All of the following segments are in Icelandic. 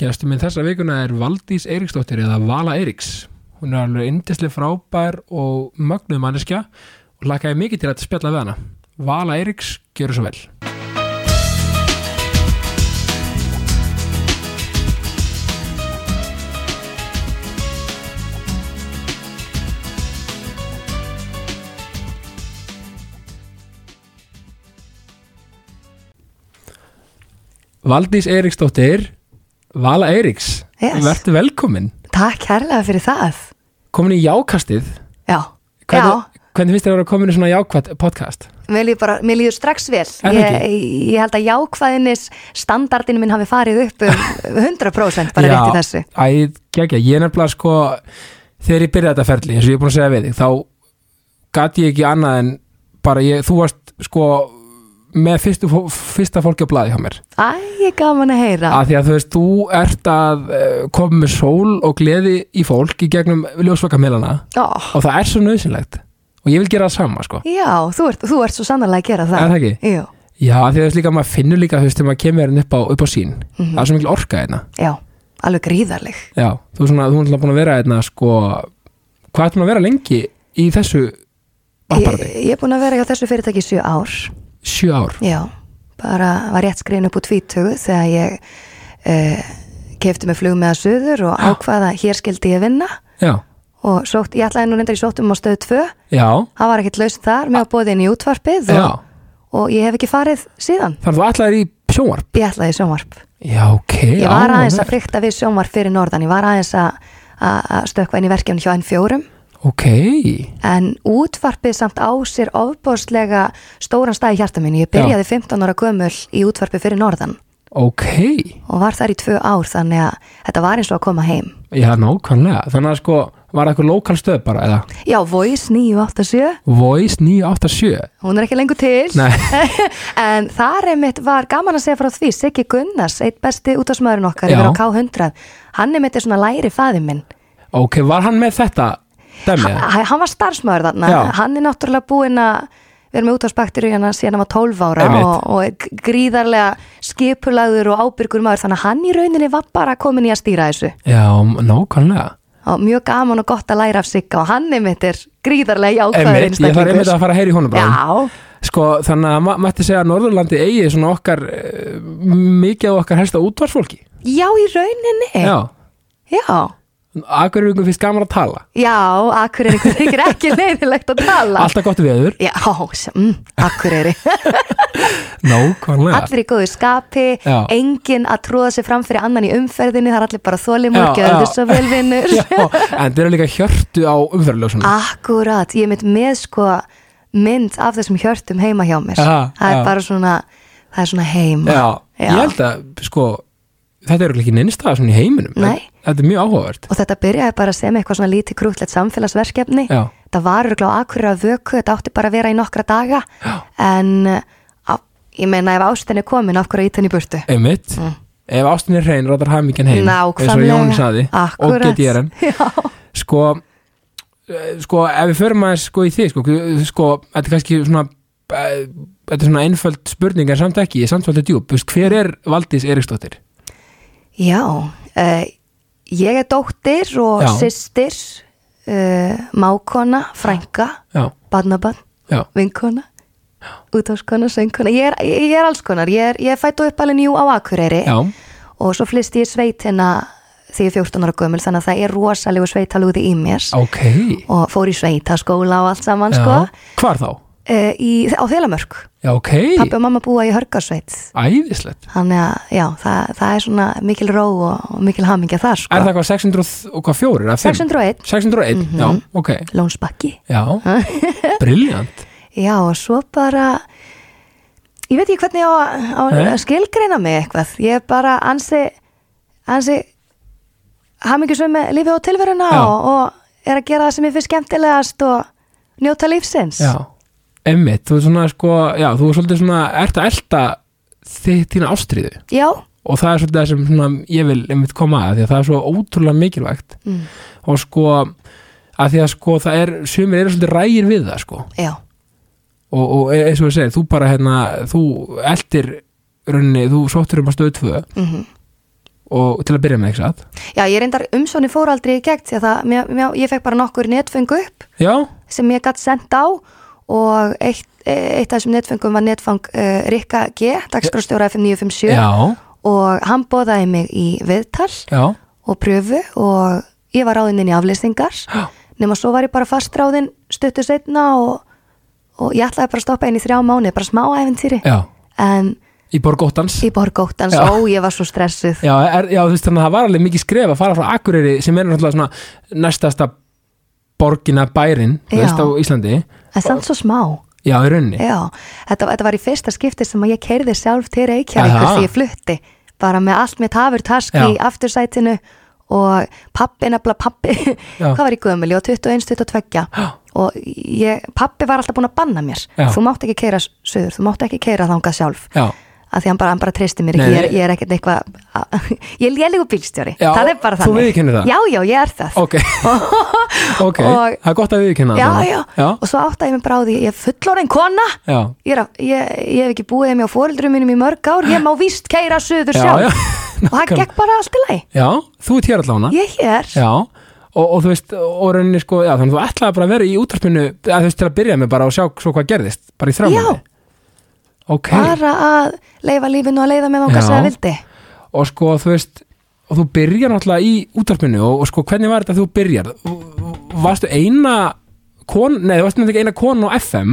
Gæstu minn þessa vikuna er Valdís Eiríksdóttir eða Vala Eiríks. Hún er alveg yndislega frábær og mögnuð manneskja og lakaði mikið til að spjalla við hana. Vala Eiríks, gjör svo vel. Valdís Eiríksdóttir, Vala Eiríks, Yes. verður velkomin. Takk kærlega fyrir það. Komin í jákastið. Já, Hvernig, hvernig finnst þér að vera komin í svona jákvætt podcast? já, mér líður, bara, mér líður strax vel. Er það Ég, ekki? ég held að jákvæðinis standardinu minn hafi farið upp um 100% bara rétt í þessu. Æ, gegja, ég er nefnilega sko þegar ég byrjaði þetta ferli, eins og ég er búin að segja við þig þá gat ég ekki annað en bara ég, þú varst sko með fyrstu, fó- fyrsta fólki á blaði hjá mér Æ, ég gaman að heyra. að því að þú veist, þú ert að eh, koma með sól og gleði í fólk í gegnum ljósvakamilana Ó, og það er svo nöðsynlegt og ég vil gera það sama sko já, þú ert, þú ert svo sannarlega að gera það. Er það ekki? Jú, Já, af því að þú veist líka, maður finnur líka, þú veist, þegar maður kemur hérna upp á, upp á sín Mhm. það er svo mikil orka hérna já, alveg gríðarleg. Já, þú er svona, þú er náttúrulega búin að vera einna sko, hvað ertu búin að vera lengi í þessu Ég, apparati? ég er búin að vera hjá þessu fyrirtæki í sjö ár. Sjö ár. Já, bara var rétt skriðin upp úr tvítugu þegar ég uh, kefti með flug með að suður og Já. ákvaða að hér skildi ég vinna Já, og sótt, ég ætlaði nú reyndar í sóttum á stöðu 2, já, það var ekkert laust þar með að bóði inn í útvarpið já. og, og ég hef ekki farið síðan Þannig að þú allar í sjónvarp? ég ætlaði í sjónvarp, Já, ok. ég var aðeins að áhugavert. frykta við sjónvarp fyrir norðan, ég var aðeins að að að stökkva inn í verkefni hjá N4 Ok, en útvarpið samt á sér ofbóðslega stóran stað í hjarta minni ég Já. byrjaði 15 ára gömul í útvarpið fyrir norðan ok. og var þar í tvö ár þannig að þetta var eins og að koma heim Já, nákvæmlega. Þannig að sko, var það eitthvað lokal stöð bara, eða? Já, Voice 987, Voice 987. hún er ekki lengur til Nei. en þar einmitt var gaman að segja frá því Siggi Gunnars, eitt besti útásmaðurinn okkar Já. yfir á K100, hann einmitt er svona læri fæði minn, Ok, var hann með þetta dæmið? ha, hann var starfsmaður þarna, Já. hann er náttúrulega búinn að við erum með útásbakteríu hérna síðan hann var 12 ára Einmitt. og, og er g- gríðarlega skipulagður og ábyrgur maður þannig að hann í rauninni var bara komin í að stýra þessu Já, nákvæmlega. og mjög gaman og gott að læra af Sigga og hann einmitt er gríðarlega jákvæður Einmitt, ég þarf einmitt að fara að heyra í honum bara. Já, Sko, þannig að ma mætti segja að Norðurlandi eigi svona okkar, eh, mikið af okkar helsta útvarsfólki. já í rauninni Já, Já, já, Akureyringum finnst gaman að tala já Akureyri þykir ekki leiðilegt að tala Alltaf gott veður Já, s- mm, Akureyri Nákvæmlega Allir í góðu skapi, Já. enginn að tróða sér fram fyrir annan í umferðinni Það er allir bara Já, þólimur, gjörðu já. svo velvinnur Já, En þeir eru líka hjörtu á Ah, umferðljósunum Akkurat, ég er mitt með sko mynd af þessum hjörtum heima hjá mér Já, já. Það er bara svona, það er svona heima Já, ég held að sko Þetta eru ekki neinstaða svona í heiminum Nei. Þetta er mjög áhugavert Og þetta byrjaði bara sem eitthvað svona lítið krútlegt samfélagsverkefni. Já. Það var örgulega á akkurra vöku, þetta átti bara að vera í nokkra daga. Já. En uh, á, ég meina ef ástinni komin, af hverju ít henni í burtu? Einmitt Ef ástin er hrein, ráðar hafmyggjan heim Eins og Mm. Nákvæmlega. Jón saði Og Akkúrat. get ég er hann Já. Sko, eh, sko ef við förum aðeins sko í þig sko, sko, þetta er kannski svona eh, Þetta er svona einföld spurning en samt ekki, samt svolítið djúp Þú veist, Hver er Valdís Eriksdóttir? Já. Uh, ég er dóttir og Já. systir, uh, mákona, frænga, Já, badnabann, já, vinkona, útáskona, söngkona. Ég er, ég er alls konar. Ég er, ég er fætt og uppalinn jú á Akureyri. já og svo flyst ég í sveitina því ég er 14 ára gömul þannig að það er rosalegu sveitalúði í mér Ok og fór í sveitaskóla og allt saman sko Hvar þá? uh, í, á Þelamörk Já, ok pappi og mamma búa í Hörgarsveit Æðislegt þannig að já, það, það er svona mikil ró og, og mikil hamingja þar Er sko það hvað 600 og hvað fjórir? eða fimm? 601, 601, Mhm. já, ok Lónsbakki Já, briljant já og svo bara ég veit ekki hvernig ég á, á Nei. að skilgreina mig eitthvað ég er bara ansi ansi hamingjusum með lífið og tilveruna Já. og, og er að gera það sem ég finnst skemmtilegast og njóta lífsins Já, emmitt, þú er svona sko Já, þú er svolítið svona, ert að elta þi- þína ástriðu já, og það er svolítið það sem svona, ég vil einmitt koma að því að það er svo ótrúlega mikilvægt Mm. og sko að því að sko það er, sumir eru svolítið rægir við það sko já, og, og e, eins og ég segir, þú bara hérna, þú eldir rauninni, þú sóttur um að stöðu tvö Mhm. og til að byrja með, ekki satt? Já, ég reyndar umsóni fór aldrei í gegn því að það, mér, mér, ég fekk bara nokkur netfengu upp Já, sem ég gætt sendt á og eitt, eitt af þessum netfengum var netfang uh, Rikka G, dagskrárstjóra F957 já, og hann bóðaði mig í viðtal já, og pröfu og ég var ráðin inn í aflýsingar nema svo var ég bara fastráðin stuttu setna og, og ég ætlaði bara að stoppa inn í þrjá mánu, bara smá æfintýri já en Í borgóttans í borgóttans, Já. ó ég var svo stressuð Já, er, já, þú veist þannig að það var alveg mikið skref að fara frá Akureyri sem er náttúrulega svona næstasta borgina bærin, þú Já. veist, á Íslandi en samt svo smá Já, í rauninni Já, þetta, þetta var í fyrsta skipti sem að ég keirði sjálf til Reykjavíkur Aha. því ég flutti bara með allt mitt hafur taski Já. í aftursætinu og pappi nefnilega pappi, Já. hvað var ég gömul, ég var 21, 22 og ég, pappi var alltaf búin að banna mér Já. þú mátt ekki keira söður, þú mátt ekki keira þangað sjálf Já, að því hann bara, hann bara treysti mér Nei, ekki, ég er, nei. ég er ekkert eitthvað ég er lélugu bílstjóri, Já, það er bara þú þannig viðurkennir það? Já, já, ég er það ok Ok, Og- það er gott að viðkynna já, já. já, og svo áttaði ég mig bara á því ég er fullorinn kona já, ég, er að, ég, ég hef ekki búið með fóreldrum mínum í mörg ár, ég má víst keira söður Já, sjálf já. og það gekk bara allt í lagi já, þú ert hér allána ég er hér, Já, og, og þú veist, og rauninni sko, já, þannig að þú ætlaði bara að vera í útvarpinu að þú veist, til að byrja með bara og sjá svo hvað gerðist bara í þrjá Já. mánuði. Ok, bara að leifa lífinu að leiða með Já. langar sem það vildi og sko, þú veist og þú byrjar náttúrulega í útvarpinu og, og sko, hvernig var þetta að þú byrjar? Varstu eina kon, nei, þú varstu náttúrulega ekki eina kon á FM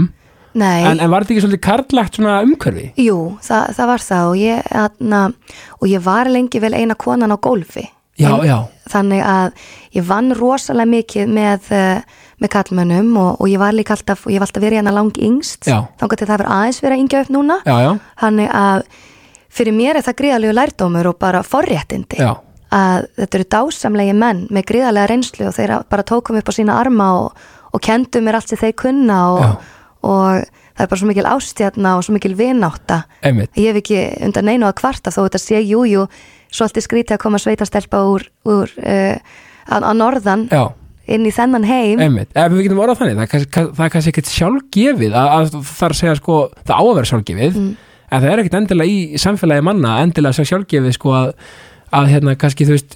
nei, en, en var þetta ekki svolítið karlægt svona umhverfi? jú, það, það var það og ég, atna, og ég var lengi vel eina konan á gólfi Já, já, þannig að ég vann rosalega mikið með, eh, með kallmönnum og, og ég var líka alltaf, og ég var alltaf verið hérna lang yngst Já. þangar til það verið aðeins verið að yngja upp núna já, já, Þannig að fyrir mér er það gríðalegu lærdómur og bara forréttindi já, að þetta eru dásamlegi menn með gríðalega reynslu og þeir bara tókum upp á sína arma og, og kendu mér allt sem þeir kunna og, og það er bara svo mikil ástjarna og svo mikil vinátta einmitt, ég hef ekki undan neinu að kvarta þó þetta sé jújú jú, svolítið skrítið að koma sveitastelpa úr, úr uh, að, að norðan já inn í þennan heim Einmitt, ef við getum orðað þannig, það er kannski, kann- það er kannski ekkert sjálfgefið að, að það er að segja sko, það á að vera sjálfgefið Mm. en það er ekkert endilega í samfélagi manna endilega að segja sjálfgefið sko að, að hérna kannski þú veist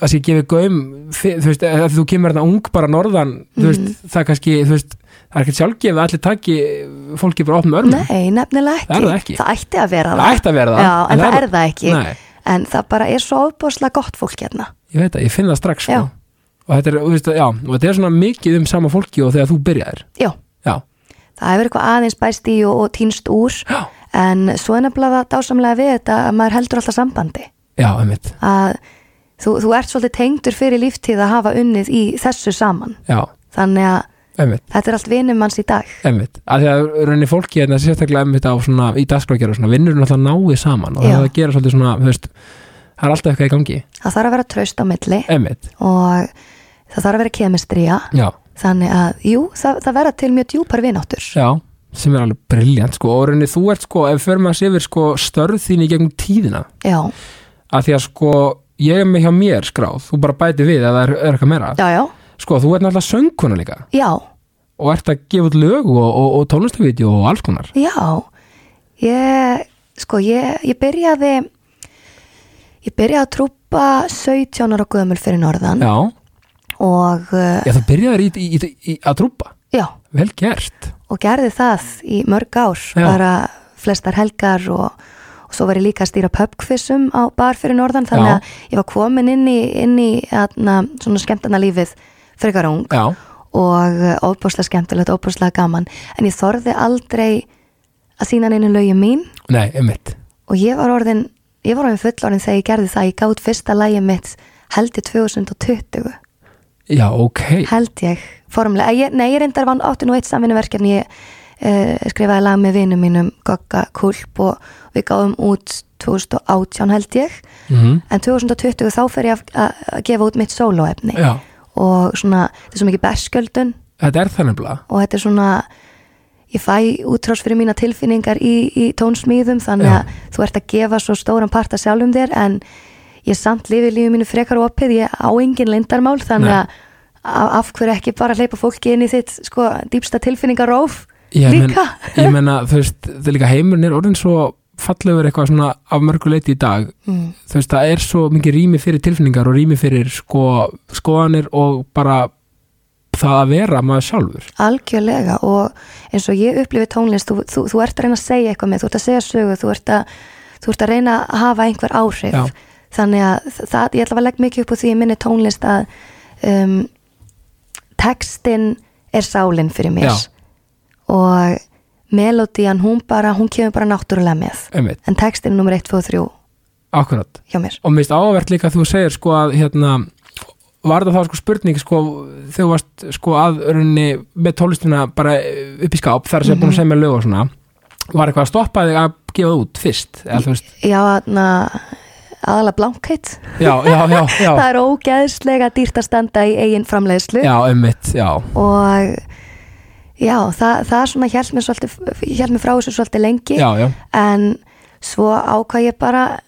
að sé gefið gaum fi- þú veist, ef þú kemur hérna ung bara norðan þú Mm. veist, það er kannski, þú veist það er ekkert sjálfgefið að allir taki fólki bara opnum örmum, Nei, nefnilega ekki. Það er það ekki. ætti að vera það ætti að vera það Já, en, það, er það ekki. Nei, En það bara er svo ofbúslega gott fólk hérna. ég veit það, ég finn það strax sko. Já. og þetta er, þú veist, já, og þetta er svona mikið um sama fólki og þegar þú byrjaðir Já, já, það hefur eitthvað aðeins bæst í og, og týnst úr. Já. En svo er nefnilega það dásamlega við þetta að maður heldur alltaf sambandi. já, einmitt Að þú, þú ert svolítið tengdur fyrir líftíð að hafa unnið í þessu saman. já, Þannig að einmitt, þetta er allt vinum manns í dag. einmitt að því að rauninni fólki hérna sérstaklega einmitt á svona í dagskrákjara svona vinnur náttúrulega náið saman og Já. það er að gera svolítið svona, þú veist það er alltaf eitthvað í gangi, Það þarf að vera traust á milli einmitt og það þarf að vera kemistrija. já, Þannig að, jú, það, það verða til mjög djúpar vináttur. já, sem er alveg briljant sko og rauninni þú ert sko, ef fyrir maður séfir sko störð þín í gegnum tíðina Já, að því að sko, ég er með hjá mér skráð þú bara bæti við að það er, er eitthvað meira já, já. sko, þú ert náttúrulega söngkona líka Já, og ert að gefa út lög og, og, og tónlistavídeó og alls konar já, ég, sko, ég, ég byrjaði, ég byrjaði að trúpa 17 ára gömul fyrir norðan já, og, uh, já þú byrjaðir í, í, í, í að trúpa já, vel gert, og gerði það í mörg ár, Já. bara flestar helgar og, og svo var ég líka að stýra pubquizum á bar fyrir norðan, þannig Já. að ég var komin inn í, inn í, atna, svona skemmtana lífið frekar ung já og uh, óbúslega skemmtilegt, óbúslega gaman, en ég þorði aldrei að sína neinu lögi mín Nei, einmitt og ég var orðin ég var orðin fullorðin þegar ég gerði það ég gátt fyrsta lægi mitt held ég 2020 Já, ok, held ég formlega, ég, nei ég reyndar vann 81 samvinnuverkefni ég uh, skrifaði lag með vinum mínum Gokka Kulp og við gáðum út 2018 held ég Mhm. en 2020 þá fer ég að- að að gefa út mitt sólóefni já, og svona, þetta er svo mikið berskjöldun þetta er þannig blað og þetta er svona ég fæ útrás fyrir mína tilfinningar í, í tónsmíðum þannig að þú ert að gefa svo stóran part að sjálfum þér en ég samt lifi lífið mínu frekar opið, ég á engin lindarmál þannig Nei. að a- af hverju ekki bara hleypa fólki inn í þitt sko dýpsta tilfinningaróf Ég líka Ég menna, þú veist, það er líka heimurinn er orðin svo fallegur eitthvað svona af mörgu leiti í dag þú veist, það er svo mikið rými fyrir tilfinningar og rými fyrir sko, skoðanir og bara það að vera maður sjálfur algjörlega og eins og ég upplifi tónlist þú, þú, þú ert að reyna að segja eitthvað með, þú ert að segja sögu þú ert að, þú ert að reyna að hafa einhver áhrif Já. þannig að þ- það, ég ætla að leggja mikið upp úr því í minni tónlist að um, textin er sálinn fyrir mér Já. og melodían hún bara, hún kemur bara náttúrulega með einmitt, en textin er nummer 1, 2 og 3 akkurat hjá mér og mér finnst áverð líka að þú segir sko að hérna, var það þá sko spurning sko þegar þú varst sko að rauninni með tólistina bara upp í skáp þar sem mm -hmm. búin að semja lög og svona var eitthvað að stoppa þig að gefa það út fyrst eða þú veist, já, na, aðalega blankheit já, já, já já, það er ógeðslega dýrt að standa í eigin framleiðslu já einmitt, já, og já, það, það svona hjælt mér, svolítið, hélt mér frá þessu svolítið lengi já, já en svo ákvað ég bara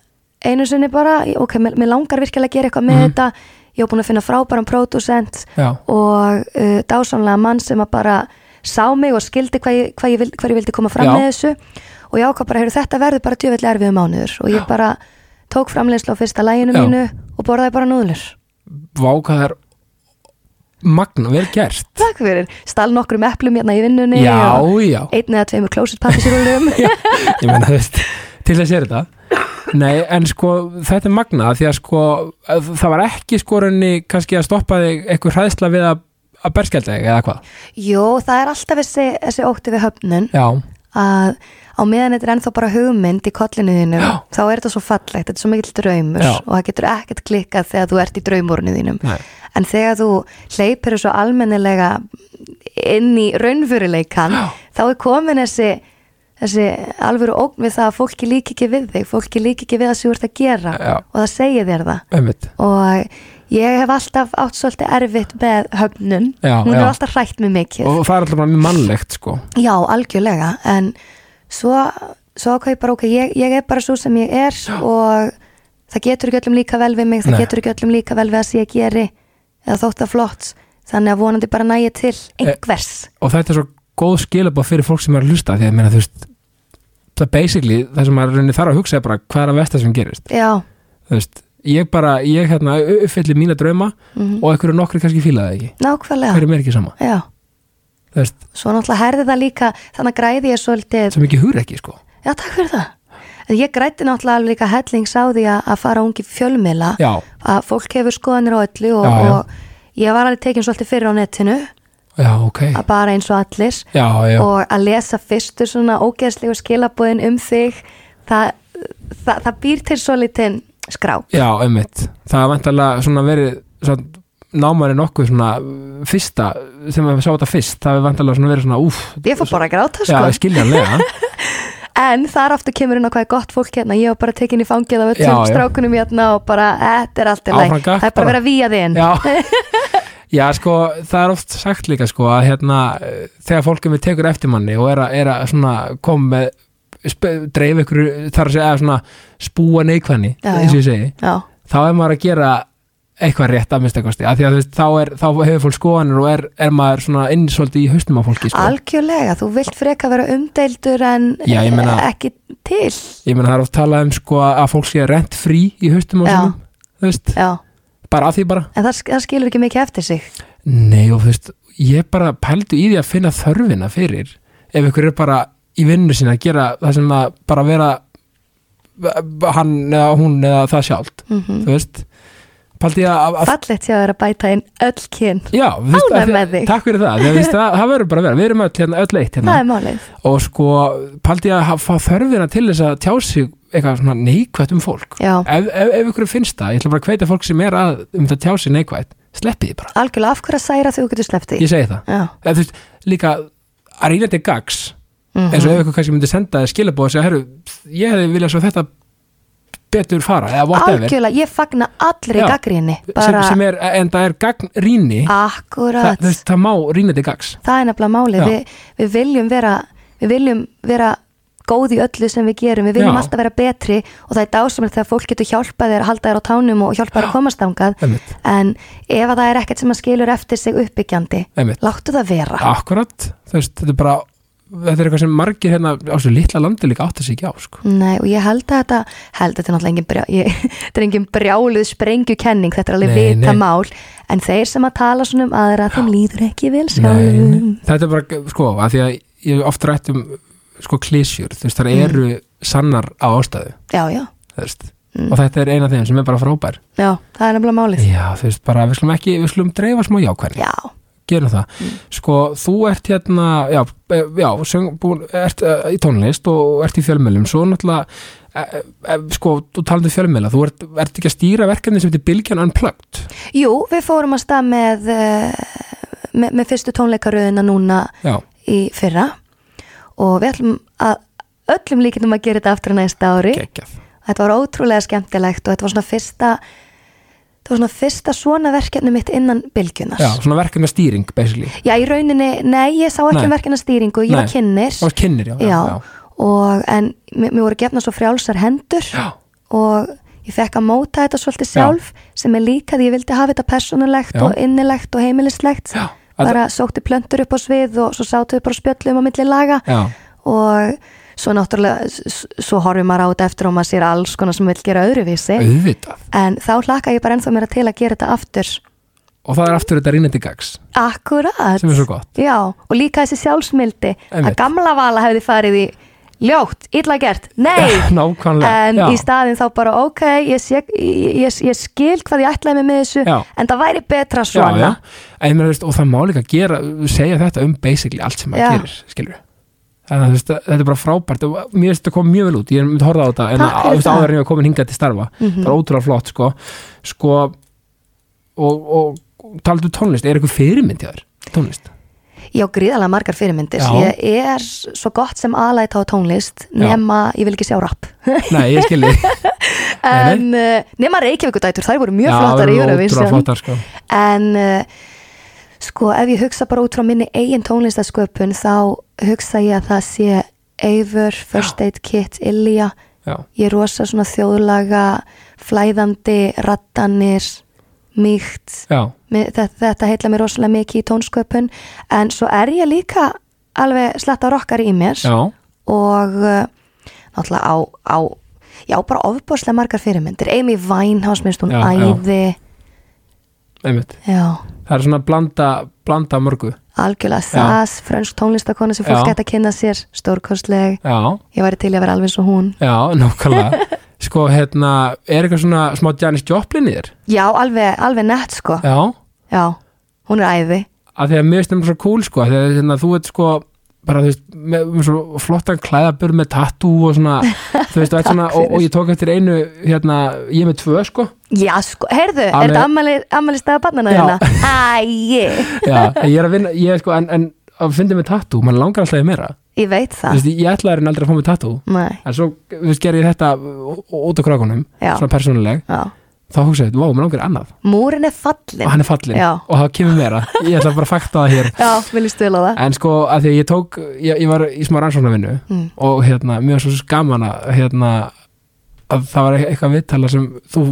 einu sinni bara, ok, mér, mér langar virkilega að gera eitthvað með þetta ég var búin að finna frábæran pródusent Mhm. Já. og uh, dásamlega mann sem að bara sá mig og skildi hvað ég, hvað ég, vildi, hvað ég vildi koma fram Já. með þessu og ég ákvað bara, heyrðu, þetta verður bara djöfell erfiðu mánuður og ég bara tók framleiðslu á fyrsta læginu Já. mínu og borðaði bara núðlur vákað er magna, vel gert Takk fyrir, stál nokkrum eplum hérna í vinnunni já, og- já, einn eða tveimur klósetpappisrúlum ég meina þú veist til þess er þetta Nei, en sko, þetta er magnað því að sko, að það var ekki sko raunni kannski að stoppa þig eitthvað hræðsla við að, að berskjælda þig eða hvað Jó, það er alltaf þessi, þessi ótti við höfnun Já, að á meðan þetta er ennþá bara hugmynd í kollinu þínum, Já. þá er þetta svo fallegt þetta er svo mikill draumur Já. og það getur ekkert klikkað þegar þú ert í draumurinu þínum Nei. en þegar þú hleypir svo almennilega inn í raunfyrirleikan, þá er komin þessi þessi alvöru ógn við það að fólki líki ekki við þig fólki líki ekki við það sem þú ert að gera Já. og það segir þér það einmitt og ég hef alltaf átt svolítið erfitt með höfnun Já, hún já. hefur alltaf hrætt mig mikið Og það er alltaf bara mjög mannlegt sko já, algjörlega en svo, svo ákvað ég bara ok, ég, ég er bara svo sem ég er og það getur ekki öllum líka vel við mig það Nei. getur ekki öllum líka vel við það sem ég geri eða þótt að flott þannig að vonandi bara næja til Eh. einhvers Og þetta er svo góð skilabá fyrir fólk sem er að hlusta því að ég meina þú veist það basically, það sem maður raunni þarf að hugsa er bara hvað er að vesta sem gerist já, Þú veist, ég bara, ég hérna uppfylli mína drauma og einhverju nokkri kannski fílaði ekki mhm. nákvæmlega Hverju mér ekki sama já, Þú veist, svo náttúrulega herði það líka þannig að græði ég svolítið sem ekki hugur sko Já, takk fyrir það. En ég grætti náttúrulega alveg líka hellings á því að, að fara ungi fjölmiðla, Já. að fólk hefur skoðanir á öllu og, Já, já. og ég var alveg tekin svolítið fyrir á netinu, Já, ok að bara eins og allir Já, já, og að lesa fyrstu svona ógeðslegu skilabóðin um þig, það, það, það býr til svolítinn skrá. Já, einmitt. Það er vantarlega svona verið svona, námari nokkuð svona uh, fyrsta, sem við sá þetta fyrst það er vantarlega svona verið svona úf Ég fór bara að gráta Já, sko, skiljanlega en þar aftur kemur inn á hvað er gott fólk hérna, ég var bara tekin í fangið af öllum Já, já. strákunum hérna og bara, þetta er allt í læk, Áfram gakk það er bara bara. verið að víja þig inn. Já Já, sko, það er oft sagt líka sko að hérna, uh, þegar fólkum við tekur eftir manni og er að, er að svona koma með sp- dreif ykkur þar að segja eða svona spúa neikvæðni Já, já. eins og ég segi Já, þá er maður að gera eitthvað rétt að minnstakosti af því að þú veist, þá, er, þá hefur fólk skoðanir og er, er maður svona inn svolítið í haustum á fólki sko. Algjörlega, þú vilt freka vera umdeildur en Já, ég meina- eh, ekki til ég meina það er oft talað um sko að fólk sé rent frí í haustum á Já. sínum þú veist, Já, bara að því bara en það, það skilur ekki mikið eftir sig nei og þú veist, ég bara pældu í því að finna þörfina fyrir ef ykkur er bara í vinnu sína að gera það sem að bara vera hann eða hún eða það sjálft mm þú veist, pældu ég að, að Fallegt sé að vera að bæta inn öll kyn já, þú veist, Ánægð af því- með þig. takk fyrir það, þú veist, það, það verður bara að vera við erum öll, hérna, öll eitt hérna Það er málið og sko, pældu ég að ha- fá þörfina til þess að tjá sig eitthvað svona neikvætt um fólk Já, ef, ef, ef ykkur finnst það, ég ætla bara að hveita fólk sem er að um þetta tjá sig neikvætt, sleppi því bara algjörlega af hverju að særa þegar þú getur sleppt því ég segi það, Já, eða þú veist, líka að reyna til gags, mm eins og ef ykkur kannski myndi senda þér skilabóð og segja, herru, ég hefði viljað svo þetta betur fara eða whatever, algjörlega, ég fagna allri Já. gaggrinni sem, bara sem er en það er gagn rýni, það, akkurat þú veist, það má rýna til gags það er nefnilega málið Já. Vi, við viljum vera við viljum vera góð í öllu sem við gerum, við viljum Já. alltaf vera betri og það er dásamlega þegar fólk getur hjálpað þér að halda þér á tánum og hjálpað þér að komast ángað Einmitt. en ef að það er ekkert sem að skilur eftir sig uppbyggjandi, Einmitt. láttu það vera akkurat, þú veist, þetta er bara þetta er eitthvað sem margir hérna á þessu litla landi líka átt að sig ekki á sko. Nei, og ég held að þetta, held að þetta er náttúrulega engin, brjá, ég, þetta er engin brjáluð sprengjukenning, þetta er alveg Nei, vita nei. mál, en þeir sem að tala svona um aðra, þeim líður ekki vel sjálfum. Nei, þetta er bara, sko, að því að ég hef oft rætt um sko klísjur, þú veist, þar eru sannar á ástæðu, Já, já, þú veist og þetta er eina af þeim sem er bara frábær já, það er nefnilega málið. Já, þú veist, bara við slum ekki, við slum dreifa smá jákvæðin, Já, gerum það Sko, þú ert hérna já, e, já söng, búin, ert uh, í tónlist og ert í fjölmjölum, svo náttúrulega e, e, sko, þú talandi fjölmjöla þú ert, ert ekki að stýra verkefni sem þetta er Bilgjan Unplugged, jú, við fórum að stað með, eh, með, með fyrstu tónleikaröðina núna já í fyrra og við ætlum að öllum líkinum að gera þetta aftur næsta ári. geggjað, Þetta var ótrúlega skemmtilegt og þetta var svona fyrsta þetta var svona fyrsta svona verkefni mitt innan bylgjunars. já, svona verkefna stýring basically, Já, í rauninni, nei, ég sá ekki Nei. um verkefna stýringu, ég var Nei. kynnir það var kynnir já, já, já, og en mér, mér voru gefna svo frjálsar hendur já. og ég fekk að móta þetta svolítið Já. sjálf sem er líka því ég vildi hafa þetta persónulegt Já. og innilegt og heimilislegt Já. bara sótti plöntur upp á svið og svo sátu við bara spjöllum á milli laga Já. og svo náttúrulega s- s- svo horfum maður á þetta eftir og maður sér alls konar sem vill gera öðruvísi auðvitað en þá hlakka ég bara ennþá mér til að gera þetta aftur og það er aftur þetta rínandi gags Akkurat sem er svo gott Já, og líka þessi sjálfsmildi Einmitt. að gamla vala hefði farið í ljótt, illa gert, nei nákvæmlega en já. í staðin þá bara ok ég, sé, ég, ég, ég skil hvað ég ætlaði mig með þessu Já. en það væri betra já, svona já. En ég meina, þú veist, og það má líka gera segja þetta um basically allt sem Já. maður gerir skilur Þannig, að, þú veist, þetta er bara frábært og mér finnst þetta kom mjög vel út, ég myndi horfa á þetta en Takk að, fyrir þú veist, það. Mhm. áður en ég var komin hingað til starfa það var ótrúlega flott sko, sko og, og taldu um tónlist, er eitthvað fyrirmynd hjá þér tónlist? Já, gríðalega margar fyrirmyndir Já. ég er svo gott sem aðlæta á tónlist nema, ég vil ekki sjá rap Nei, ég skilji Nei, en, uh, nema Reykjavíkudætur, þær voru Já, mjög það flottar eru í ótrúlega Eurovision flottar sko. en uh, sko ef ég hugsa bara út frá minni eigin tónlistasköpun þá hugsa ég að það sé Eivur, First Aid Kit, Ilja Já. ég er rosa svona þjóðlaga flæðandi, rattanir mýkt Já. þetta, þetta heitla mér rosalega mikið í tónsköpun en svo er ég líka alveg sletta rokkar í mér Já. og uh, náttúrulega á, á já bara ofbáslega margar fyrirmyndir Amy Winehouse minnst hún Já, já. æði einmitt já. það er svona að blanda, blanda af mörgu algjörlega það, frönsk tónlistakona sem fólk Já. geta að kynna sér, stórkostleg já, ég væri til í að vera alveg eins og hún já, nákvæmlega sko, hérna, er eitthvað svona smá Janis Joplin í þér? já, alveg, alveg nett sko já, já, hún er æði að því að mér stemur svo cool sko, af því að hérna, þú ert sko bara, þú veist, með, með svo flottan klæðabur með tattoo og svona þú veist, og, eitt svona, og, og ég tók eftir einu hérna, ég er með tvö sko já sko, heyrðu, Alveg- er þetta ammali, ammali staða barnana Já. þína? Æi, já, ég er að vinna, ég er sko en, en að fyndi með tattoo, mann langar alltaf í meira ég veit þú það veist, ég ætlaði en aldrei að fá með tattoo nei, en svo, þú veist, gerði ég þetta ó- ó- út á krakunum, Já. svona persónuleg já, þá hugsaði, vá, mann langar í annað múrin er fallin og hann er fallin já, og það kemur meira ég ætla bara að fakta það hér já, viljum stila það en sko að því að ég tók ég, ég var í smá rannsóknarvinnu Mm. og hérna, mér var svo gaman að hérna, að það var eitthvað viðtala sem þú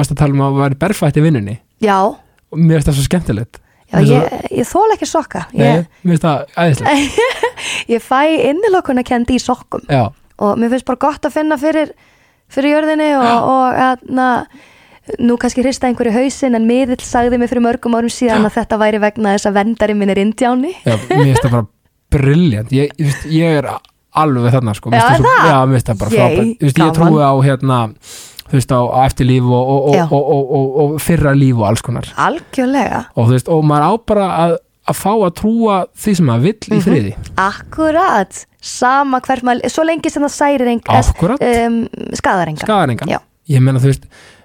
varst að tala um að væri berfætt í vinnunni já, og mér finnst það svo skemmtilegt já Mér ég, finnst ég þóla ekki sokka það- Nei, ég, mér finnst það æðislega ég fæ innilokuna kendi í sokkum já, og mér finnst bara gott að finna fyrir fyrir jörðinni og, og aðna, nú kannski hrista einhverju hausinn en miðill sagði mér fyrir mörgum árum síðan að þetta væri vegna þess að vendari minn er indjáni já, mér finnst það bara brilljant ég, ég, veist, ég er alveg þarna sko, Mér Já, finnst er það? já, mér finnst það bara Yay, frábært Þú veist, ég gaman. trúi á hérna þú veist á, á eftirlíf og, og, Já. og, og, og, og, og fyrra líf og alls konar algjörlega og, þú veist, og maður á bara að, að fá að trúa því sem maður vill í friði akkurat, sama hvert maður svo lengi sem það særir Akkúrat. um, skadar enga skadar engan Já. ég menna þú veist,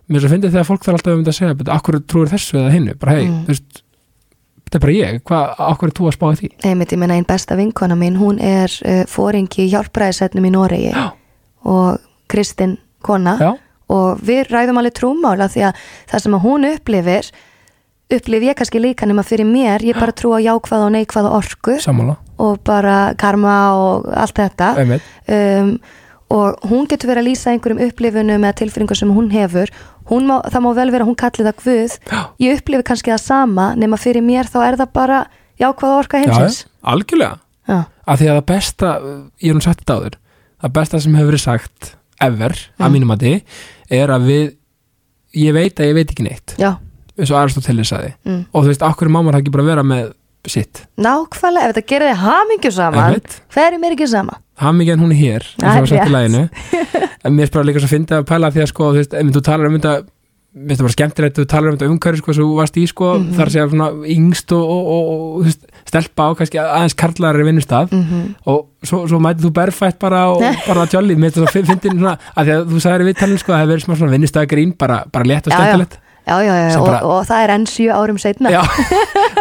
mér er svo fyndið þegar fólk þarf alltaf um þetta að segja, betur, akkur trúir þessu eða hinnu bara hei, þú veist þetta er bara ég, hvað, akkur er þú að spá í því einmitt, ég meina einn besta vinkona mín hún er uh, fóringi í hjálpræðisætnum í Noregi Já. og Kristinn kona Já. og við ræðum alveg trúmála því að það sem að hún upplifir upplif ég kannski líka nema fyrir mér ég bara trú á jákvað og neikvað orku sammála, og bara karma og allt þetta Einmitt. um, og hún getur verið að lýsa einhverjum upplifunum eða tilfinningu sem hún hefur hún má, það má vel vera að hún kalli það guð ég upplifi kannski það sama nema fyrir mér þá er það bara jákvað orka já, heimsins algjörlega Já. að því að það besta, ég er nú sagt þetta áður það besta sem hefur verið sagt ever, að Mm. mínum að er að við, ég veit að ég veit ekki neitt já, eins og Aristoteles sagði mm. og þú veist, okkur má maður ekki bara vera með sitt, nákvæmlega, ef þetta gerir þið hamingju saman einmitt hverjum er ekki sama hamingjan hún er hér eins og var sagt Ah, rétt. í læginu en mér er bara líka svo fyndið að pæla því að sko, þú veist, ef þú talar um þetta mér finnst það bara skemmtilegt, þú talar um þetta umhverju sko, sem þú varst í sko, Mhm. þar sé að svona yngst og, og, og, og þú veist, stelpa á kannski aðeins karlari vinnustaf mm og svo, svo mætið þú berfætt bara og Nei. bara tjólið, mér finnst það svo fyndið svona, að því að þú sagðir í viðtalin sko, að það hefur verið smá svona vinnustafgrín, bara, bara létt og Já, já. skemmtilegt já, já, já, Sem og, bara- og það er enn sjö árum setna já. já,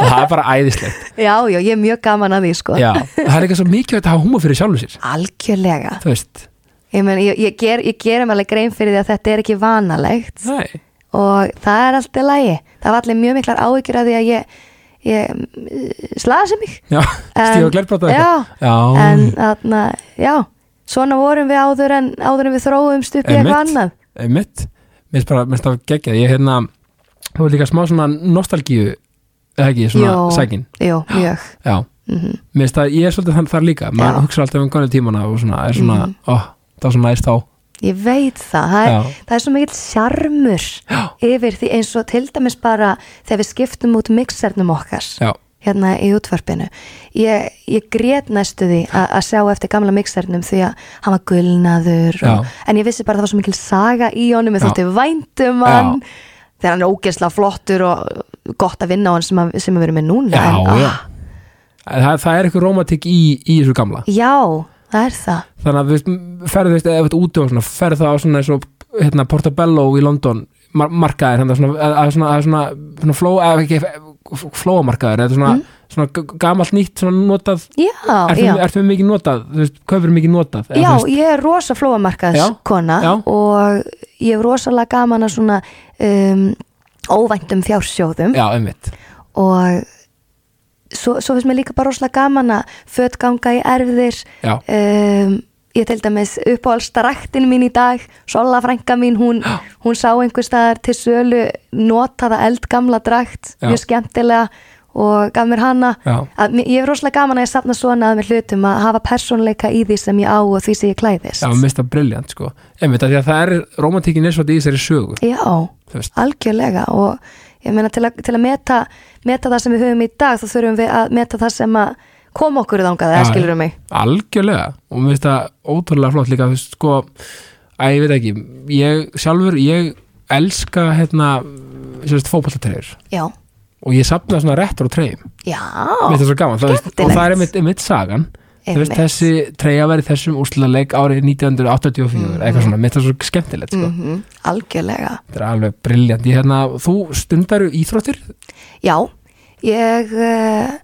og það er bara æðislegt já, ég er mjög gaman að því sko já, það er eitthvað svo mikilvægt að hafa húma fyrir sjálfum sér algjörlega þú veist, ég, men, ég, ég, ger, ég gerum alveg grein fyrir því að þetta er ekki vanalegt nei, og það er allt í lagi það var allir mjög miklar áhyggjur að því að ég, ég mm, slasi mig já, En- stíð og glerbráta já, já, en þarna, já svona vorum við áður en, áður en við þróumst upp í eitthvað Einmitt. annað mitt, mér finnst bara, mér finnst það geggjað ég hérna, þú er líka smá svona nostalgíu, eða ekki, svona Jó. sækin, jú, mjög já mm mér finnst það, ég er svolítið þann þar líka Já. maður hugsa alltaf um konu tímana og svona, er svona Mhm. ó, það var svona næst þá ég veit það, það er, Já. það er svo mikill sjarmur yfir því eins og til dæmis bara þegar við skiptum út mixernum okkar já, hérna í útvarpinu ég, ég grét næstu því a- að sjá eftir gamla mixernum því að hann var gulnaður og, Já. en ég vissi bara að það var svo mikil saga í honum ég Já. þótti væntum hann þegar hann er ógeðslega flottur og gott að vinna á hann sem, að, sem að vera með núna já, en, já ah, Það, það er eitthvað romantik í, í þessu gamla já, það er það þannig að þú veist, ferðu þú veist, ef þú ert úti og svona, ferðu það á svona eins og hérna, Portobello í London mar markaðir, þannig að svona, að- að svona, að svona, svona fló, eða ekki flóamarkaðir, eða Mhm. svona, svona g- gamalt nýtt, svona notað já, ertu, já, ertu með mikið notað, þú veist, kaupir mikið notað eða já þú veist, ég er rosa flóamarkaðskona Já, já. og ég hef rosalega gaman að svona um, óvæntum fjársjóðum já, einmitt og svo, svo finnst mér líka bara rosalega gaman að fött ganga í erfðir já, um, ég til dæmis uppáhaldstaraktin mín í dag Sola frænka mín, hún, hún sá einhvers staðar til sölu notaða eldgamla drakt, Já. mjög skemmtilega og gaf mér hana já, að, mér- ég er rosalega gaman að ég safna svona að mér hlutum að hafa persónleika í því sem ég á og því sem ég klæðist já, mista briljant sko, einmitt, af því að það er romantikin er svolítið í þessari sögu, Já, þú veist algjörlega og ég meina til, að- til að meta, meta það sem við höfum í dag þá þurfum við að meta það sem að koma okkur þangað, Já, það skilur um mig algjörlega, og mér finnst það ótrúlega flott líka, þú veist, sko að ég veit ekki, ég sjálfur ég elska, hérna sérst, fótballatreyjur Já, og ég sapna svona retro treyjum, mér já, finnst það svo gaman þú veist, og Skemmtilegt. það er einmitt, einmitt sagan þú veist, einmitt þessi treyja verið þessum úrslutaleik árið 1984, Mm. eitthvað svona, mér finnst það svo skemmtilegt, sko, Mhm, Algjörlega þetta er alveg briljant, ég hérna, þú stundar íþróttir? Já, ég, uh,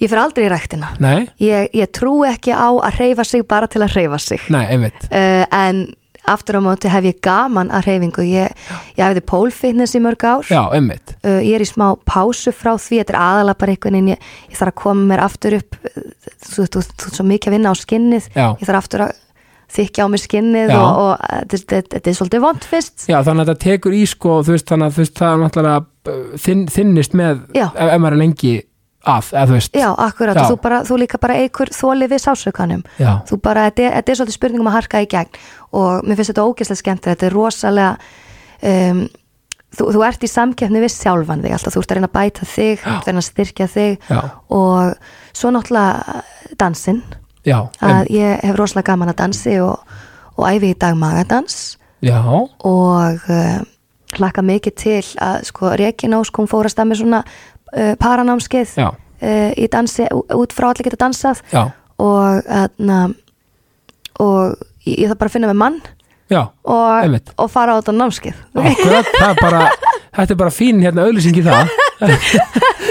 ég fyrir aldrei í ræktina Nei, ég, ég trú ekki á að hreyfa sig bara til að hreyfa sig nei, einmitt uh, en aftur á móti hef ég gaman að hreyfingu ég, ég hefði pólfitness í mörg ár Já, einmitt, uh, ég er í smá pásu frá því þetta er aðalega bara einhvern veginn ég, ég þarf að koma mér aftur upp uh, þú veist, þú- þú ert svo mikið að vinna á skinnið já ég þarf aftur að þykja á mér skinnið Já. og, og uh, þetta- þetta þetta er svolítið vond fyrst Já, þannig að þetta tekur í sko þú veist, þannig að þú veist, það er náttúrulega uh, þinn, þinnist með Já. ef, ef maður er lengi að, eða þú veist já, akkurat, Já. og þú, bara, þú líka bara eikur þólið við sásaukanum Já, þú bara, þetta er, þetta er svolítið spurning um að harka í gegn og mér finnst þetta ógeðslega skemmt þetta er rosalega um, þú, þú ert í samkeppni við sjálfan þig alltaf, þú ert að reyna að bæta þig þú ert að reyna að styrkja þig Já. og svo náttúrulega dansinn já, að einmitt. ég hef rosalega gaman að dansi og, og æfi í dag magadans já, og uh, hlakka mikið til að sko Rekinós kom fór að stammi svona uh, paranámskeið já, uh, í dansi ú- út frá allir geta dansað já, og þarna og ég, ég þarf bara að finna með mann já og, Einmitt. og fara á þetta námskið Akkurat, það er bara, þetta er bara fín hérna auðlýsing í það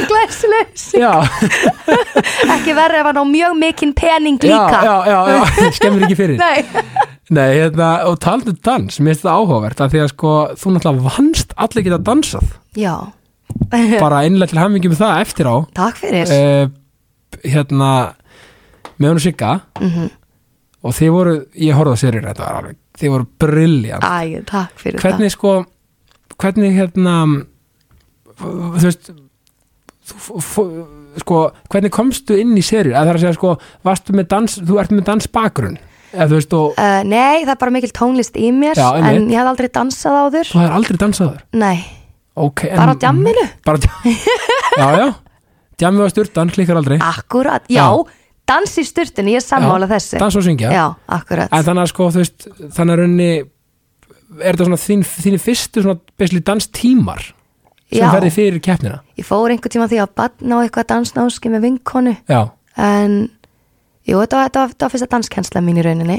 glæsilegs, Já, ekki verið ef hann á mjög mikinn pening já, líka já, já, já, skemmir ekki fyrir Nei, Nei, hérna, og taldu dans, mér finnst það áhugavert að því að sko, þú náttúrulega vannst allir geta dansað, já, bara einlega til hamingjum það eftir á takk fyrir uh, hérna með hún og Sigga Mhm. og þið voru, ég horfði á serið þetta var alveg, þið voru briljant Æ, takk fyrir hvernig sko hvernig hérna þú veist þú, f- f- sko, hvernig komstu inn í serið að það er að segja sko, varstu með dans þú ert með dansbakgrunn eða þú veist og Uh, nei, það er bara mikil tónlist í mér Já, einmitt. en ég hafði aldrei dansað áður þú hefur aldrei dansaður Nei, okay, en- bara á djamminu bara á djam já já, djamið var styrtan, klíkar aldrei Akkurat, já, Já. dans í sturtinu, ég er sammála þessu dans og syngja Já, akkurat en þannig að sko þú veist þannig að raunni er þetta svona þín, þínu fyrstu svona basically danstímar sem Já. ferði fyrir keppnina Ég fór einhvern tíma því að batna á eitthvað dansnáski með vinkonu já, En, jú, þetta var, þetta var, þetta var fyrsta danskensla mín í rauninni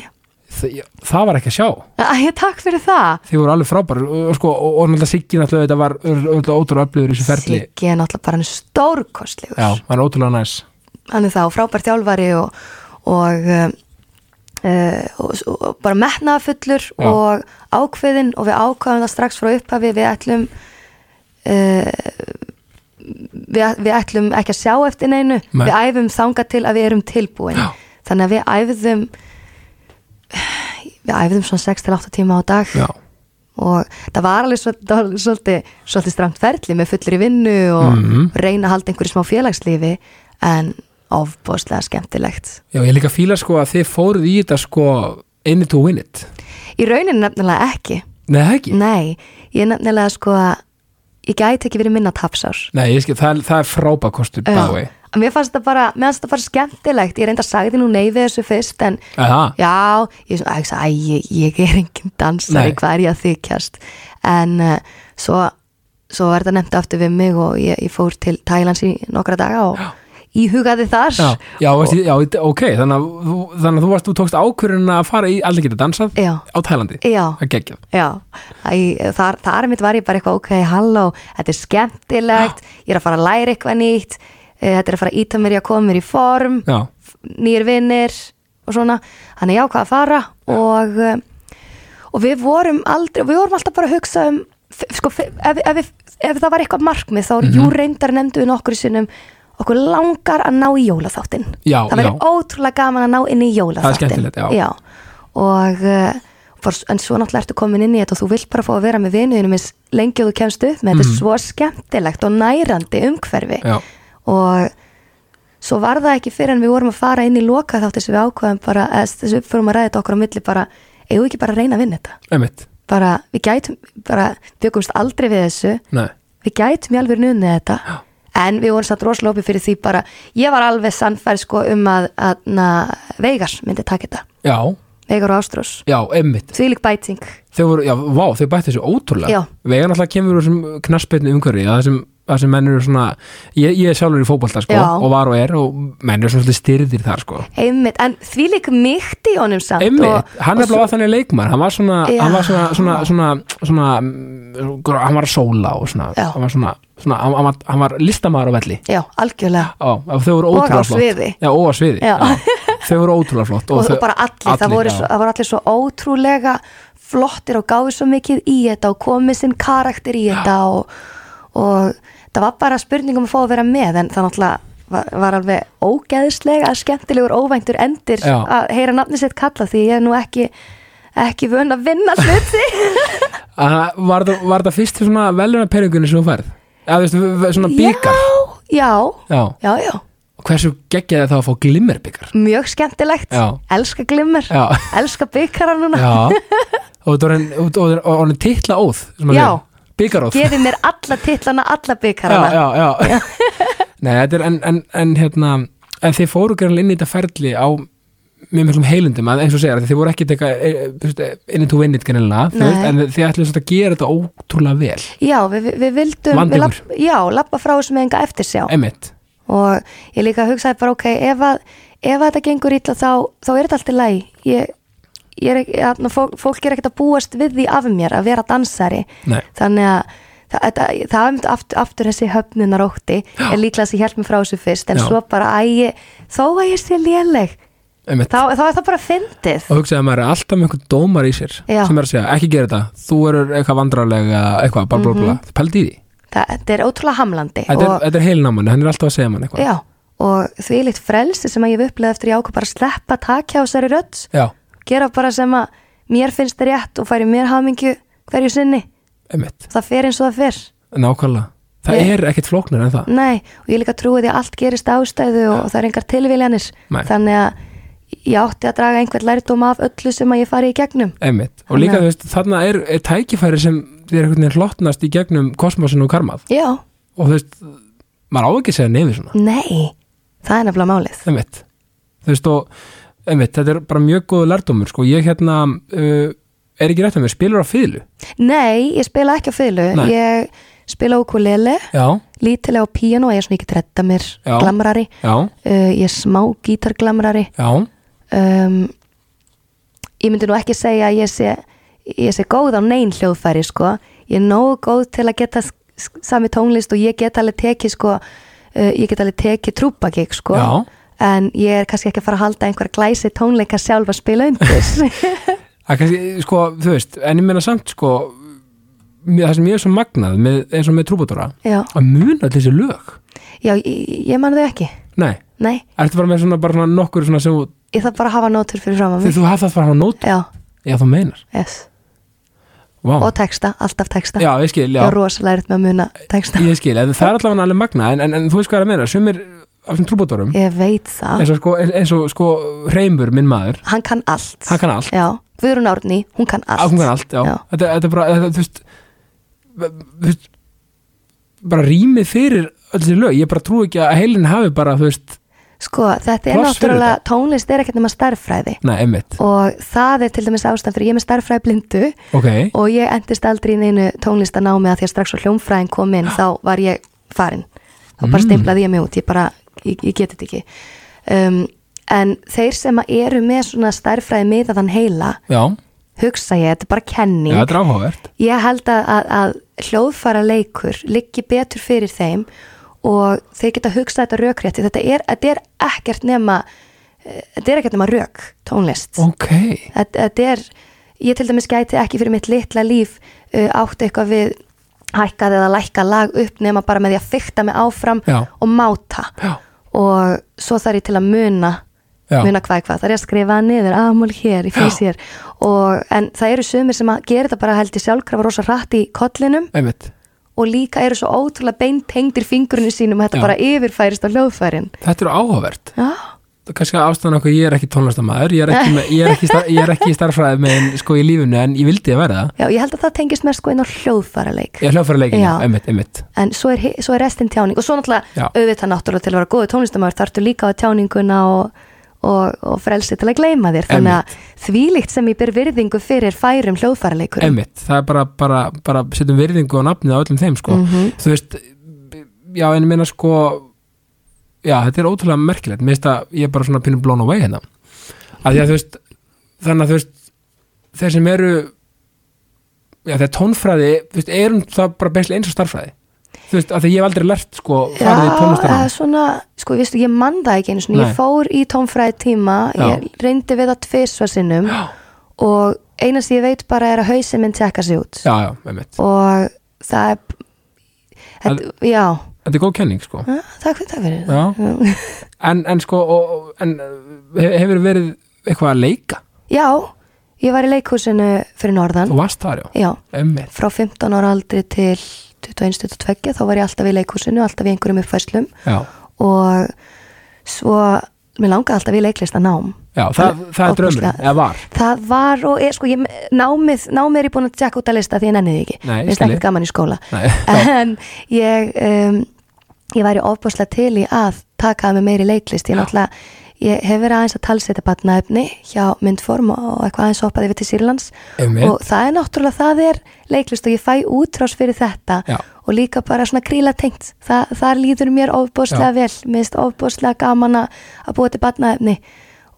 það, það var ekki að sjá Æ, takk fyrir það þið voru alveg frábæri og, og sko, og, og náttúrulega Siggi náttúrulega þetta var öll ótrúlega öflugur í þessu ferli Siggi er náttúrulega bara hann er stórkostlegur já, hann er ótrúlega næs hann er þá frábær þjálfari og, og, uh, og, og bara metnaðafullur Já. og ákveðinn og við ákveðum það strax frá upphafi við ætlum uh, við, við ætlum ekki að sjá eftir neinu Nei. við æfum þanga til að við erum tilbúin Já. þannig að við æfðum við æfðum svona 6-8 tíma á dag já, og það var alveg svo- það var alveg svolítið, svolítið stramt ferli með fullur í vinnu og reyna að halda einhverju smá félagslífi en ofbóðslega skemmtilegt já, ég líka fíla sko að þið fóruð í þetta sko in it to win it í rauninni nefnilega ekki nei, það ekki, nei, ég er nefnilega sko að ég gæti ekki verið minna tapsár nei, ég skil, það, er- það er frábækostur bæði, Að mér fannst það bara, mér fannst það bara skemmtilegt ég reynda að sagði nú nei við þessu fyrst en eða Já, ég, er svona, æ, ég, sagði, æ, ég, ég er engin dansari, Nei. hvað er ég að þykjast en uh, svo svo var þetta nefnt aftur við mig og ég, ég fór til Thailands í nokkra daga og íhugaði þar Já, já, og, já, ok, þannig að, þú- þannig að þú varst, þú tókst ákvörðin að fara í allir geta dansað Já. á Tælandi, Já. það geggjað Já, æ, þar, þar mitt var ég bara eitthvað ok, halló, þetta er skemmtilegt ég er að fara að læra eitthvað nýtt eh, þetta er að fara að íta mér í að koma mér í form Já, nýjir vinnir og svona, þannig ég ákvað að fara og, uh, og við vorum aldrei, við vorum alltaf bara að hugsa um f- sko, f- ef, ef, ef, ef það var eitthvað markmið þá, Mhm. jú reyndar nefndu við nokkur í sinnum okkur langar að ná í jólaþáttinn Já, það væri já. ótrúlega gaman að ná inn í jólaþáttinn skemmtilegt, já. og uh, fór, en svo náttúrulega ertu komin inn í þetta og þú vilt bara fá að vera með vinuðinu eins lengi og þú kemst upp með þetta er svo skemmtilegt og nærandi umhverfi já, og svo var það ekki fyrir en við vorum að fara inn í loka þátt þess að við ákvaðum bara, eða þess að við fórum að ræða þetta okkur á milli bara, eigum við ekki bara að reyna að vinna þetta einmitt, bara, við gætum, bara byggumst aldrei við þessu, nei, við gætum í alveg nunnið þetta, en við vorum satt rosalópi fyrir því bara, ég var alveg sannfæri sko um að, að na, Vegas myndi taka þetta, já, Vegar og Ástrós já, einmitt, því lík bæting, þau voru, já, vá, þau bætti þessu ótrúlega Já. Vegan alltaf kemur úr þessum knassbyrnu umhverfi, það sem, það sem menn eru svona, ég, ég er sjálfur í fótbolta, sko, Já. og var og er, og menn eru svona svolítið styrðir þar, sko einmitt, en því lík mýtti í honum samt Einmitt, og, hann er bara þannig leikmann, hann var svona, Já. hann var svona, svona, svona, svona, svona hann var að sóla og svona, Já. hann var svona, svona hann, hann var, hann var listamaður á velli já, algjörlega Já, þau voru Og á ótrúlega flott sviði. Já, og á sviði Já. já. Þau voru ótrúlega flott og, þau, og bara allir, það, voru svo, já. það voru allir svo ótrúlega flottir og gáði svo mikið í þetta og komið sinn karakter í þetta og, og það var bara spurning um að fá að vera með en það náttúrulega var, var alveg ógeðslega skemmtilegur óvæntur endir Já. að heyra nafni sitt kalla því ég er nú ekki ekki vön að vinna hluti Að- Var það, var það fyrst svona veluna peningunni sem þú færð? Já, þú veist, v- v- svona byggar já, já, Já, já, já hversu geggjaði það að fá glimmerbyggar? mjög skemmtilegt, Já. elska glimmer Já, elska byggkara núna já Og þú orðin- og þú orðin- og orðin titla óð Já. Byggaróð gefið mér alla titlana, alla byggkarana já, já, já. Nei, þetta er en, en, en hérna en þið fóru gerðan inn í þetta ferli á mjög miklum heilundum að eh, eins og segja þið voru ekki teka inn í tú vinnit greinilega þú Nei. veist, en þið ætlum svolítið að gera þetta ótrúlega vel Já, við, við- við vildum Vandi við ykkur. lapp, Já, lappa frá þessu með enga eftir sjá emitt, og ég líka hugsaði bara ok, ef, að, ef að þetta gengur illa þá, þá er þetta allt í lagi ég, ég er, ekki- þarna fólk, fólk er ekkert að búast við því af mér að vera dansari Nei. þannig að það, það, það er einmitt aftur, aftur þessi höfnunar ótti er líklega þessi hjálp mér frá þessu fyrst en Já. svo bara að ég, þó að ég sé léleg emitt. þá, þá er það bara fyndið og hugsaði að maður er alltaf með einhvern dómar í sér Já. sem er að segja, ekki gera þetta þú erur eitthvað vandrarlega, eitthvað, bara blá blá þú pældi í því, það, þetta er ótrúlega hamlandi þetta Mhm. og- er, þetta er heilnáman hann er alltaf að segja mann eitthvað Já, og því líkt frelsi sem að ég hef upplegað eftir ég ákvað bara að sleppa takja á þessari rödd, já, gera bara sem að mér finnst rétt og færi mér hamingju hverju sinni, emitt, það fer eins og það fer nákvæmlega það Ég- er ekkit flóknar en það Nei, og ég líka trúi því að allt gerist á ástæðu og, og það er engar tilviljanir Nei. þannig að ég átti að draga einhvern lærdóm af öllu sem að ég fari í gegnum einmitt, og líka þú Þannig- veist, þarna er, er tækifæri sem þér einhvern veginn hlottnast í gegnum kosmosin og karmað Já, og þú veist, maður á ekki að segja neyfi svona nei, það er nefnilega málið einmitt, þú veist og einmitt, þetta er bara mjög góð lærdómur sko, ég hérna uh, er ekki rétt að mér, spilur á fýðlu Nei, ég spila ekki á fylgu Nei. ég spila á ukulele, já, lítilega á píano ég er svona ekki tretta mér Já. glamrari já, uh, ég er smá gítarglamrari já um, ég myndi nú ekki segja að ég sé, ég sé góð á neyn hljóðfæri sko, ég er nógu góð til að geta s- s- sami tónlist og ég get alveg tekið sko, uh, ég get alveg tekið trúbagik sko Já. en ég er kannski ekki að fara að halda einhver glæsi tónleika sjálf að spila undir að kannski, sko, þú veist, en ég meina samt sko, mér- það sem ég er svo magnað með, eins og með trúbúdóra já, að muna allir þessi lög já ég, ég man þau ekki nei, nei, ertu bara með svona, bara svona nokkur svona sem, þú- ég þarf bara að hafa nótur fyrir fram að þegar mig þú hafði það bara að nót já, já, þú meinar, yes. vá og texta, alltaf texta já, ég skil, ég já, er rosalega erfitt með að muna texta ég skil en það er allavega alveg magnað, en, en, en þú veist hvað ég er að meina sumir af þessum trúbúdórum ég veit það, eins og sko, eins og sko reymur, minn maður, hann kann allt hann kann allt Já, Guðrún Árni, hún kann allt Ákveðan allt, já, Já. Þetta, þetta er bara, þetta, þú veist þú veist bara rýmið fyrir öll þessi lög, ég bara trú ekki að heilin hafi bara, þú veist, Sko, þetta er Pláss fyrir náttúrulega, tónlist er ekkert nema starffræði neða, emmitt og það er til dæmis ástæðan fyrir ég er með starffræði blindu ok, og ég endist aldrei í neinu tónlistanámi að því að strax á hljómfræðin kom inn þá var ég farin þá bara Mm. stimplaði ég mig út, ég bara ég, ég geti þetta ekki um, en þeir sem að eru með svona starffræði miðaðan heila, já, hugsa ég þetta er bara já kenning þetta er áhugavert Ég held að, að, að hljóðfara leikur liggi betur fyrir þeim og þeir geta hugsað þetta rökrétti. Þetta er, þetta er ekkert nema, eh, þetta er ekkert nema rök, tónlist. ok, Þetta, þetta er, ég til dæmis gæti ekki fyrir mitt litla líf uh, átt eitthvað við hækkað eða lækkað lag upp nema bara með því að fykta mig áfram Já. og máta. já, Og svo þarf ég til að muna já, muna hvað er hvað, það er ég að skrifa það niður aðmál hér, ég finnst hér og, en það eru sumir sem að gera þetta bara held ég sjálfkrafa rosa rætt í kollinum emmitt og líka eru svo ótrúlega beintengdir fingurinu sínum að þetta Já. bara yfirfærist á hljóðfærin þetta er áhugavert Já, Það er kannski ástæðan okkur, ég er ekki tónlistamæður ég er ekki, með, ég er ekki, star, ég er ekki starffræði með sko í lífinu, en ég vildi að vera það Já ég held að það tengist mér sko inn á hljóðfæraleik ég er hljóðfæra leikinu, Já. emmitt, emmitt en svo er, hi- svo er restin tjáning og svo náttúrulega Já. auðvitað náttúrulega til að vera góðu tónlistamæður þarftu líka á tjáninguna og, og, og frelsi til að gleyma þér þannig að þvílíkt sem ég ber virðingu fyrir færum hljóðfæraleikur Einmitt, það er bara, bara, bara setjum virðingu og nafnið á öllum þeim sko. þú veist, já en ég meina sko já, þetta er ótrúlega merkilegt, mér finnst að ég er bara svona pínum blown away hérna að því að þú veist, þannig að þú veist þeir sem eru já, þeir tónfræði, þú veist, erum það bara beslega eins og starffræði þú veist, að því ég hef aldrei lært sko farið í eða tónlistarnám svona, sko, viðstu, ég man það ekki einu svona, Nei. ég fór í tónfræði tíma, ég reyndi við það tvisva sinnum og eina sem ég veit bara er að hausin minn tekka sig út já, já, einmitt, og það er, þetta, já, þetta er góð kenning sko Ja, takk fyrir, takk fyrir. já, en, en sko og, og- en eh, hefur verið eitthvað að leika, Já, ég var í leikhúsinu fyrir norðan, þú varst þar já já, Einmitt. frá 15 ára aldri til 21-22, þá var ég alltaf í leikhúsinu, alltaf í einhverjum uppfæslum Já, og svo, mér langaði alltaf í leiklistan nám. já það, það er draumurinn, Ofboðslega. eða var Það var og er, sko, ég, námið, námið er ég búin að tjekka út að lista því ég nenni því ekki. Nei, ég Mér finnst skil ekkert þig. gaman í skóla. Nei, já, En ég, um, ég væri ofbúslega til í að taka með meiri leiklist. Ég náttúrulega, ég hef verið aðeins að talsetja batnaefni hjá myndform og eitthvað aðeins hoppaði yfir til Sýrlands. einmitt, Og það er náttúrulega, það er leiklist og ég fæ útrás fyrir þetta. Já. Og líka bara svona kríla tengt. Þa, það líður mér ofbúslega vel. Mér finnst ofbúslega gaman að að búa til batnaefni.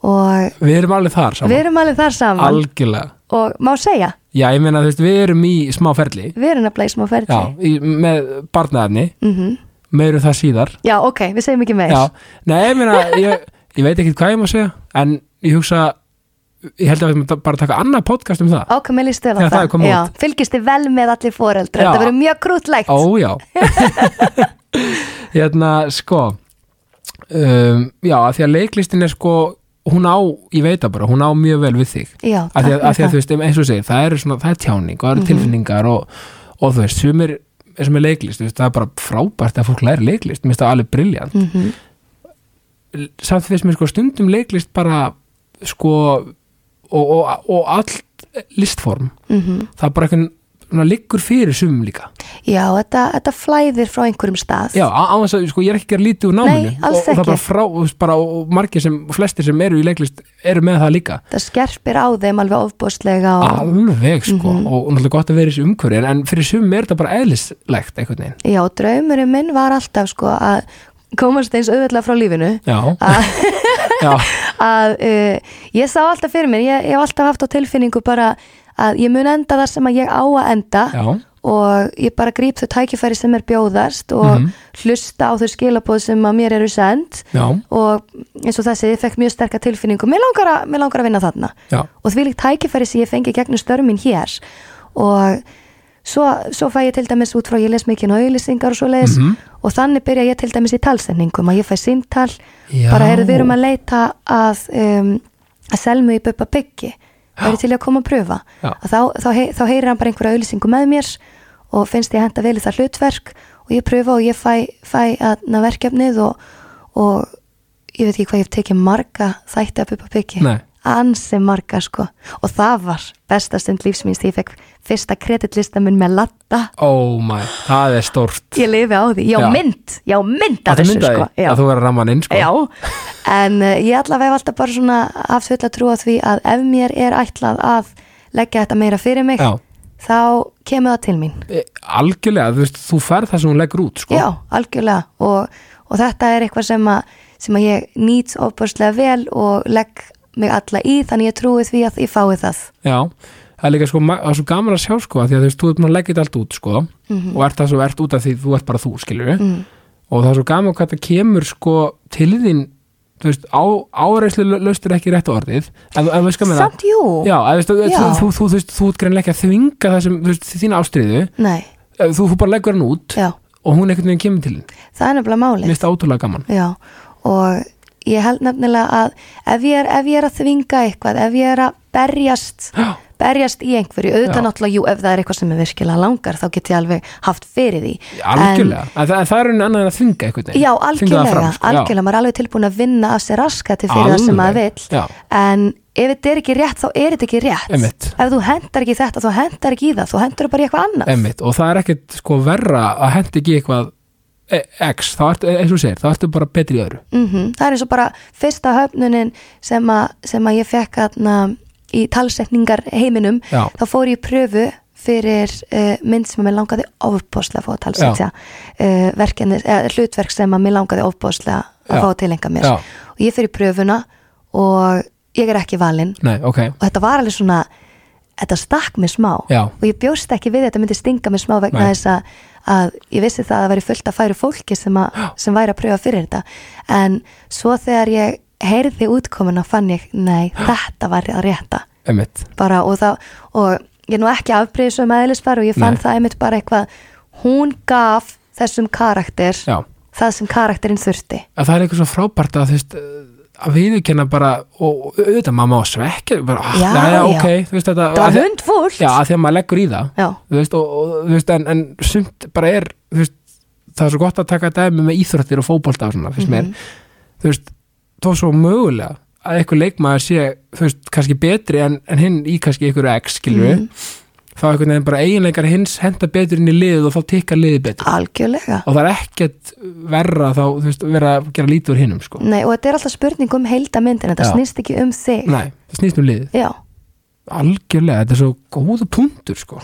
Og við erum alveg þar saman við erum alveg þar saman Algjörlega, og má segja, já ég meina þú veist við erum í smá ferli við erum nefnilega í smá ferli Já, í, með barnaefni mm Meiru það síðar já, ok, við segjum ekki meir Já, nei ég meina ég, ég veit ekki hvað ég má segja En ég hugsa Ég held að við ættum bara að taka annað podcast um það ok, mér líst vel á Já, það er komið Já, út. fylgist þið vel með allir foreldrar Já. þetta verður mjög krútlegt Ó já Hérna sko um, Já, að því að leiklistin er sko Hún á, ég veit það bara, hún á mjög vel við þig já, af því að, takk að, því að þú fyrir það. Mhm. veist, eins og þú segir, það er, svona, það er tjáning og það eru tilfinningar og, og þú veist, sumir eins og með leiklist, þú veist, það er bara frábært að fólk læri leiklist, mér finnst það alveg briljant mm samt finnst mér sko stundum leiklist bara sko og, og, og allt listform Mhm. það er bara eitthvað liggur fyrir sumum líka Já, þetta, þetta flæðir frá einhverjum stað Já, á- á þess að, sko, ég er ekki að gera lítið úr náminu Nei, og, og alls það ekki. er bara frá, þú veist, bara, og margir sem, og flestir sem eru í leiklist eru með það líka Það skerpir á þeim alveg ofbóðslega og, alveg, sko, Mhm. og náttúrulega gott að vera í þessu umhverju en, en fyrir sumum er þetta bara eðlislegt einhvern veginn, Já, draumurinn minn var alltaf sko að komast eins auðvitað frá lífinu já, að, já að uh, ég sá alltaf fyrir mér, ég, ég hef alltaf haft á tilfinningu bara að ég mun enda þar sem að ég á að enda já, og ég bara gríp þau tækifæri sem er bjóðast og Mhm. hlusta á þau skilabóð sem að mér eru send já, og eins og þessi, ég fekk mjög sterka tilfinningu mér langar, að, mér langar að vinna þarna já og því líkt tækifæri sem ég fengi gegnum störmin hér og svo, svo fæ ég til dæmis út frá ég les mikið náðlýsingar og svo leiðis Mhm. og þannig byrja ég til dæmis í talsendingum að ég fæ símtal, Já. bara heyrðu við erum að leita að, um, að selmu í Bubba Byggi verið til í að koma að pröfa Já. að þá, þá, hei, þá heyrir hann bara einhverja auðlýsingu með mér og finnst ég henda vel í það hlutverk og ég pröfa og ég fæ, fæ aðna verkefnið og, og ég veit ekki hvað ég hef tekið marga þætti að Bubba Byggi Nei. ansi marga sko og það var besta stund lífsminns því ég fekk fyrsta kreditlista minn með latta oh my, það er stórt ég lifi á því, já, Já. mynd já mynd af Þetta þessu myndaði sko já. að þú verður að ramma hann inn, sko já, en uh, ég allavega hef alltaf bara svona haft fulla trú á því að ef mér er ætlað að leggja þetta meira fyrir mig Já. þá kemur það til mín E, algjörlega, þú veist, þú ferð það sem hún leggur út, sko já, algjörlega og, og þetta er eitthvað sem að, sem að ég nýt ofbörslega vel og legg mig alla í þannig ég trúi því að ég fái það Já, það er líka sko, ma- það er svo gaman að sjá sko, af því að þú veist, þú ert búin að leggja þetta allt út sko, Mhm. og ert það svo ert út af því þú ert bara þú, skilur við, og það er svo gaman hvað það kemur sko til þín, þú veist, á, áreislu laustur ekki rétt orðið, en, en við skamum það. samt jú, Já, en, veist, þú, Já. þú, þú, þú, þú veist, þú ert greinlega ekki að þvinga það sem, þú veist, þín ástriðu, nei, þú, þú bara leggur hann út já og hún einhvern veginn kemur til þín. það er nefnilega máli Mér finnst það ótrúlega gaman. Já, og ég held nefnilega að ef ég er, ef ég er að þvinga eitthvað, ef ég er að berjast Já. berjast í einhverju, auðvitað Já. náttúrulega jú, ef það er eitthvað sem er virkilega langar, þá get ég alveg haft fyrir því. Algjörlega, en, það, en það er einu annað en að þvinga einhvern En, veginn. já, Þvinga það algjörlega, fram, sko. Já. algjörlega, maður er alveg tilbúin að vinna af sér raskati fyrir það sem maður Alveg, vill já. en ef þetta er ekki rétt, þá er þetta ekki rétt Einmitt. ef þú hendar ekki í þetta, þú hendar ekki í það þú hendur bara í eitthvað annað Einmitt, og það er ekkert sko verra að henda ekki í eitthvað e- X, þá ertu, eins og þú segir, þá ertu bara betri í öðru mm Það er eins og bara fyrsta höfnunin sem, a, sem að ég fekk aðna, í talsetningar heiminum Já. þá fór ég í pröfu fyrir uh, mynd sem að mér langaði ofbóðslega að fá að talsetja uh, verkefni, eh, hlutverk sem að mér langaði ofbóðslega að Já. fá að tilenga mér Já. og ég fyrir pröfuna og ég er ekki valinn Nei, ok, og þetta var alveg svona þetta stakk mér smá Já. og ég bjóst ekki við að þetta myndi stinga mér smá vegna Nei. þess að, að ég vissi það að það væri fullt að færu fólki sem, að, sem væri að pröfa fyrir þetta en svo þegar ég heyrði útkomuna fann ég, nei, þetta var að rétta einmitt bara og það og ég er nú ekki afbreyðisum eðlisfar og ég fann Nei. það einmitt bara eitthvað hún gaf þessum karakter Já, það sem karakterinn þurfti að það er eitthvað svo frábært að þú veist að viðurkenna bara, og og auðvitað maður má svekja, bara, ah, Já, já, já. ok þú veist, þetta, það að var því- hundfúlt Já, að því að maður leggur í það Já. þú veist, og, og, þú veist, en, en sumt bara er, þú veist, það er svo gott að taka dæmi með íþróttir og fótbolta og svona, finnst Mhm. mér þú veist, þó svo mögulega að eitthvað leikmaður sé, þú veist, kannski betri en, en hinn í kannski einhverju X, skilju Mhm. þá einhvern veginn bara eiginleikar hins henda betur inn í liðið og þá tikka liðið betur algjörlega og það er ekkert verra þá, þú veist, vera að gera lítið úr hinnum, sko Nei, og þetta er alltaf spurning um heildamyndin, þetta Já. snýst ekki um þig. Nei, það snýst um liðið Já, algjörlega, þetta er svo góða punktur sko.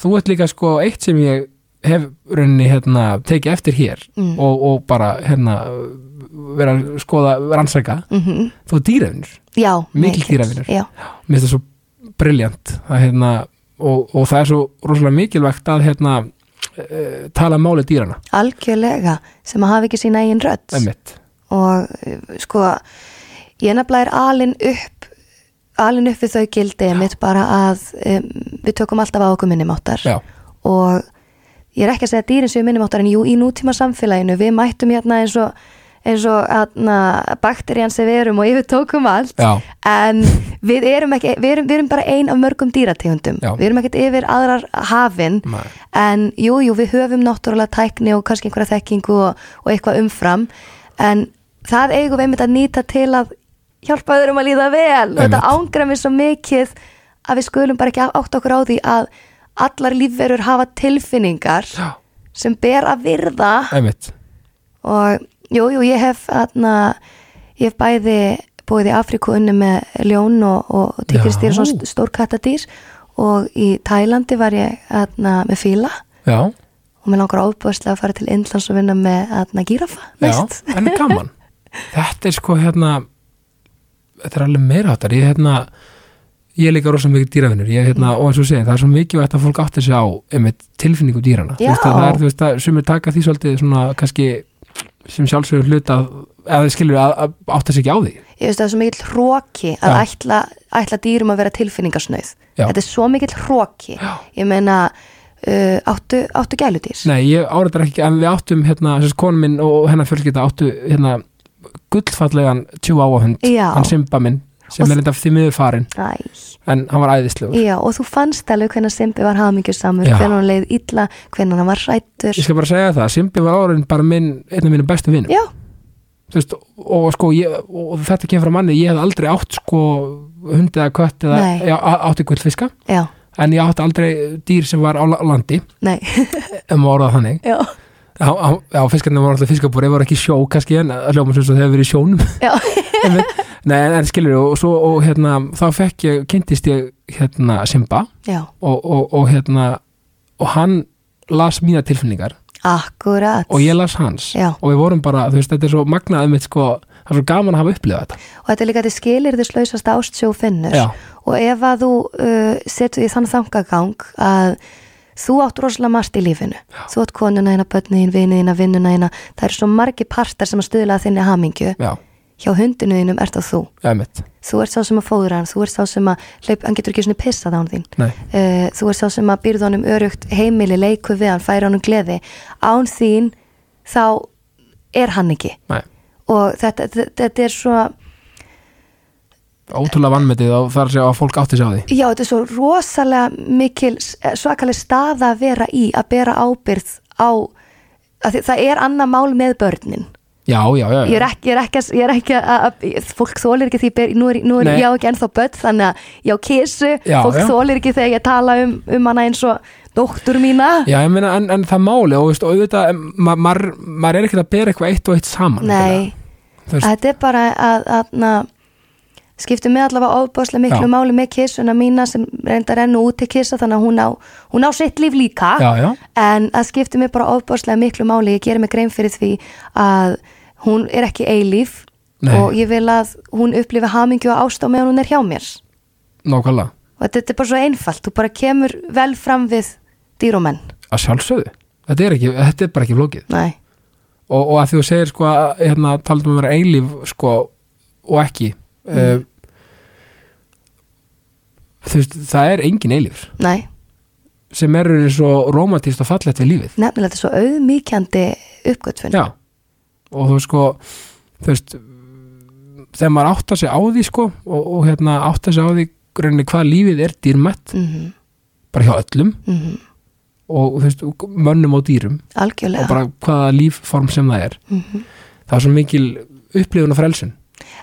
þú ert líka sko eitt sem ég hef rauninni hérna, tekið eftir hér Mm. og, og bara hérna vera að skoða rannsaka mm þú er dýravinur, já. Mikill dýravinur. Já, mér finnst það svo briljant að hérna og, og það er svo rosalega mikilvægt að hérna e, tala máli dýrana algjörlega, sem að hafa ekki sína eigin rödd. emmitt, Og eh, sko, ég nefnilega er alin upp, alin upp við þau gildið mitt bara að um, við tökum alltaf á okkur minnumáttar. já, Og ég er ekki að segja að dýrin séu minnumáttar, en jú, í nútíma samfélaginu, við mættum hérna eins og eins og aðna, bakterían sem við erum og yfir tókum allt Já. en við erum, ekki, við, erum, við erum bara ein af mörgum dýrategundum Já. við erum ekkert yfir aðrar hafin Nei. en jú, jú, við höfum náttúrulega tækni og kannski einhverja þekkingu og, og eitthvað umfram en það eigum við einmitt að nýta til að hjálpa öðrum að líða vel og þetta ángra mér svo mikið að við skulum bara ekki átt okkur á því að allar lífverur hafa tilfinningar Já. sem ber að virða Einmitt. og jú, jú, ég hef atna, ég hef bæði búið í Afríku unni með ljón og, og tíkristýr Já. og svona stórkattadýr og í Tælandi var ég atna, með fíla Já. og mér langar ábúðslega að fara til Indlands og vinna með atna, gírafa næst Já, en er gaman Þetta er sko hérna Þetta er alveg meira áttar Ég hérna Ég er líka rosa mikið dýravinnur ég, hérna, og eins og segja, það er svo mikilvægt að fólk átti sig á einmitt, tilfinningu dýrana Þú Já. veist, að það er, þú veist, að sumir taka því svolítið svona kannski sem sjálfsögur hluta eða þið skilur að, að átti sig ekki á því ég veist það er svo mikill hróki að Já. ætla, ætla dýrum að vera tilfinningasnauð Já. þetta er svo mikill hróki ég meina uh, áttu, áttu gæludýr Nei, ég áreitar ekki, en við áttum hérna, þess að konum minn og hennar fjölskylda áttu hérna, gullfallegan tjúáahund, Já. hann Simba minn sem Og er þetta því miður farin Æ. en hann var æðislegur Já, og þú fannst alveg hvernig Simbi var hafmyggjusamur, Já. hvernig hann leið illa, hvernig hann var rættur. Ég skal bara segja það, Simbi var áraðin bara minn, einn af mínum bestu vinnum Já, veist, og, sko, ég, og þetta kemur frá manni, ég hef aldrei átt sko, hundi eða kött eða Nei. já, á- átti gullfiska, já, en ég átti aldrei dýr sem var á la- landi, nei, ef maður orðað þannig já, Já, á- já fiskarnir voru alltaf fiskabúri, voru ekki í sjó kannski, en að hljóma sem svo þegar verið í sjónum já, Einmitt. Nei, en, en skilur og, svo, og hérna, þá fekk ég, kynntist ég hérna Simba já, og, og, og hérna og hann las mína tilfinningar akkurat. og ég las hans Já. og við vorum bara, þú veist, þetta er svo magnað mitt, sko, það er svo gaman að hafa upplifað þetta Og þetta er líka að þið skilir þið slausast ást sem þú finnur. Já. Og ef að þú uh, setur því þann þangagang að þú átt rosalega margt í lífinu. Já. Þú átt konuna eina, börniðin, viniðina, vinnuna eina. Það eru svo margi partar sem að stuðla að þinni hamingju. Já, Hjá hundinu þínum ert það þú. eða mitt, Þú ert sá sem að fóðra hann, þú ert sá sem að hlaup, hann getur ekki svona pissað án þín. nei, Eh, þú er sá sem að býrð honum örugt heimili, leiku við hann, færi honum gleði án þín þá er hann ekki nei og þetta, þetta, þetta er svo Ótrúlega vannmetið og þar sé að fólk átti sig á því já, þetta er svo rosalega mikil eh, svakaleg staða að vera í að bera ábyrð á að það er annað mál með börnin Já, já, já, ég já. er ekki, ég er ekki, að- ég er ekki að, að fólk þólir ekki því ég ber, nú er, nú er Nei. ég á ekki ennþá börn þannig að ég á kisu, Já, fólk já. þólir ekki þegar ég tala um, um hana eins og dóttur mína Já, ég meina, en, en það máli og, veist, og auðvitað, em, ma- maður maður er ekkert að bera eitthvað eitt og eitt saman nei, endilega. Þú veist, Þetta er bara að, að na, skipti mig allavega ofbáslega miklu Já. máli með kissuna mína sem reyndar enn út til kissa þannig að hún á, hún á sitt líf líka Já, já, en að skipti mig bara ofbáslega miklu máli ég geri mig grein fyrir því að hún er ekki eilíf Nei. og ég vil að hún upplifi hamingju og ást á meðan hún er hjá mér nákvæmlega og þetta er bara svo einfalt, þú bara kemur vel fram við dýrumenn að sjálfsögðu, þetta er, ekki, þetta er bara ekki flókið Nei, og, og að því þú segir sko að, hérna, talaðum um að vera eilíf sko og ekki mm. þú veist, það er engin eilíf nei, sem eru svo romantíst og fallegt við lífið nefnilega þetta er svo auðmíkjandi uppgötfun já, og þú veist, sko þú veist þegar maður áttar sig á því sko og, og hérna áttar sig á því grunni hvað lífið er dýrmætt, mm -hmm, bara hjá öllum mhm. og þú veist, og mönnum og dýrum algjörlega Mhm. og bara hvaða lífform sem það er það er svo mikil upplifun og frelsun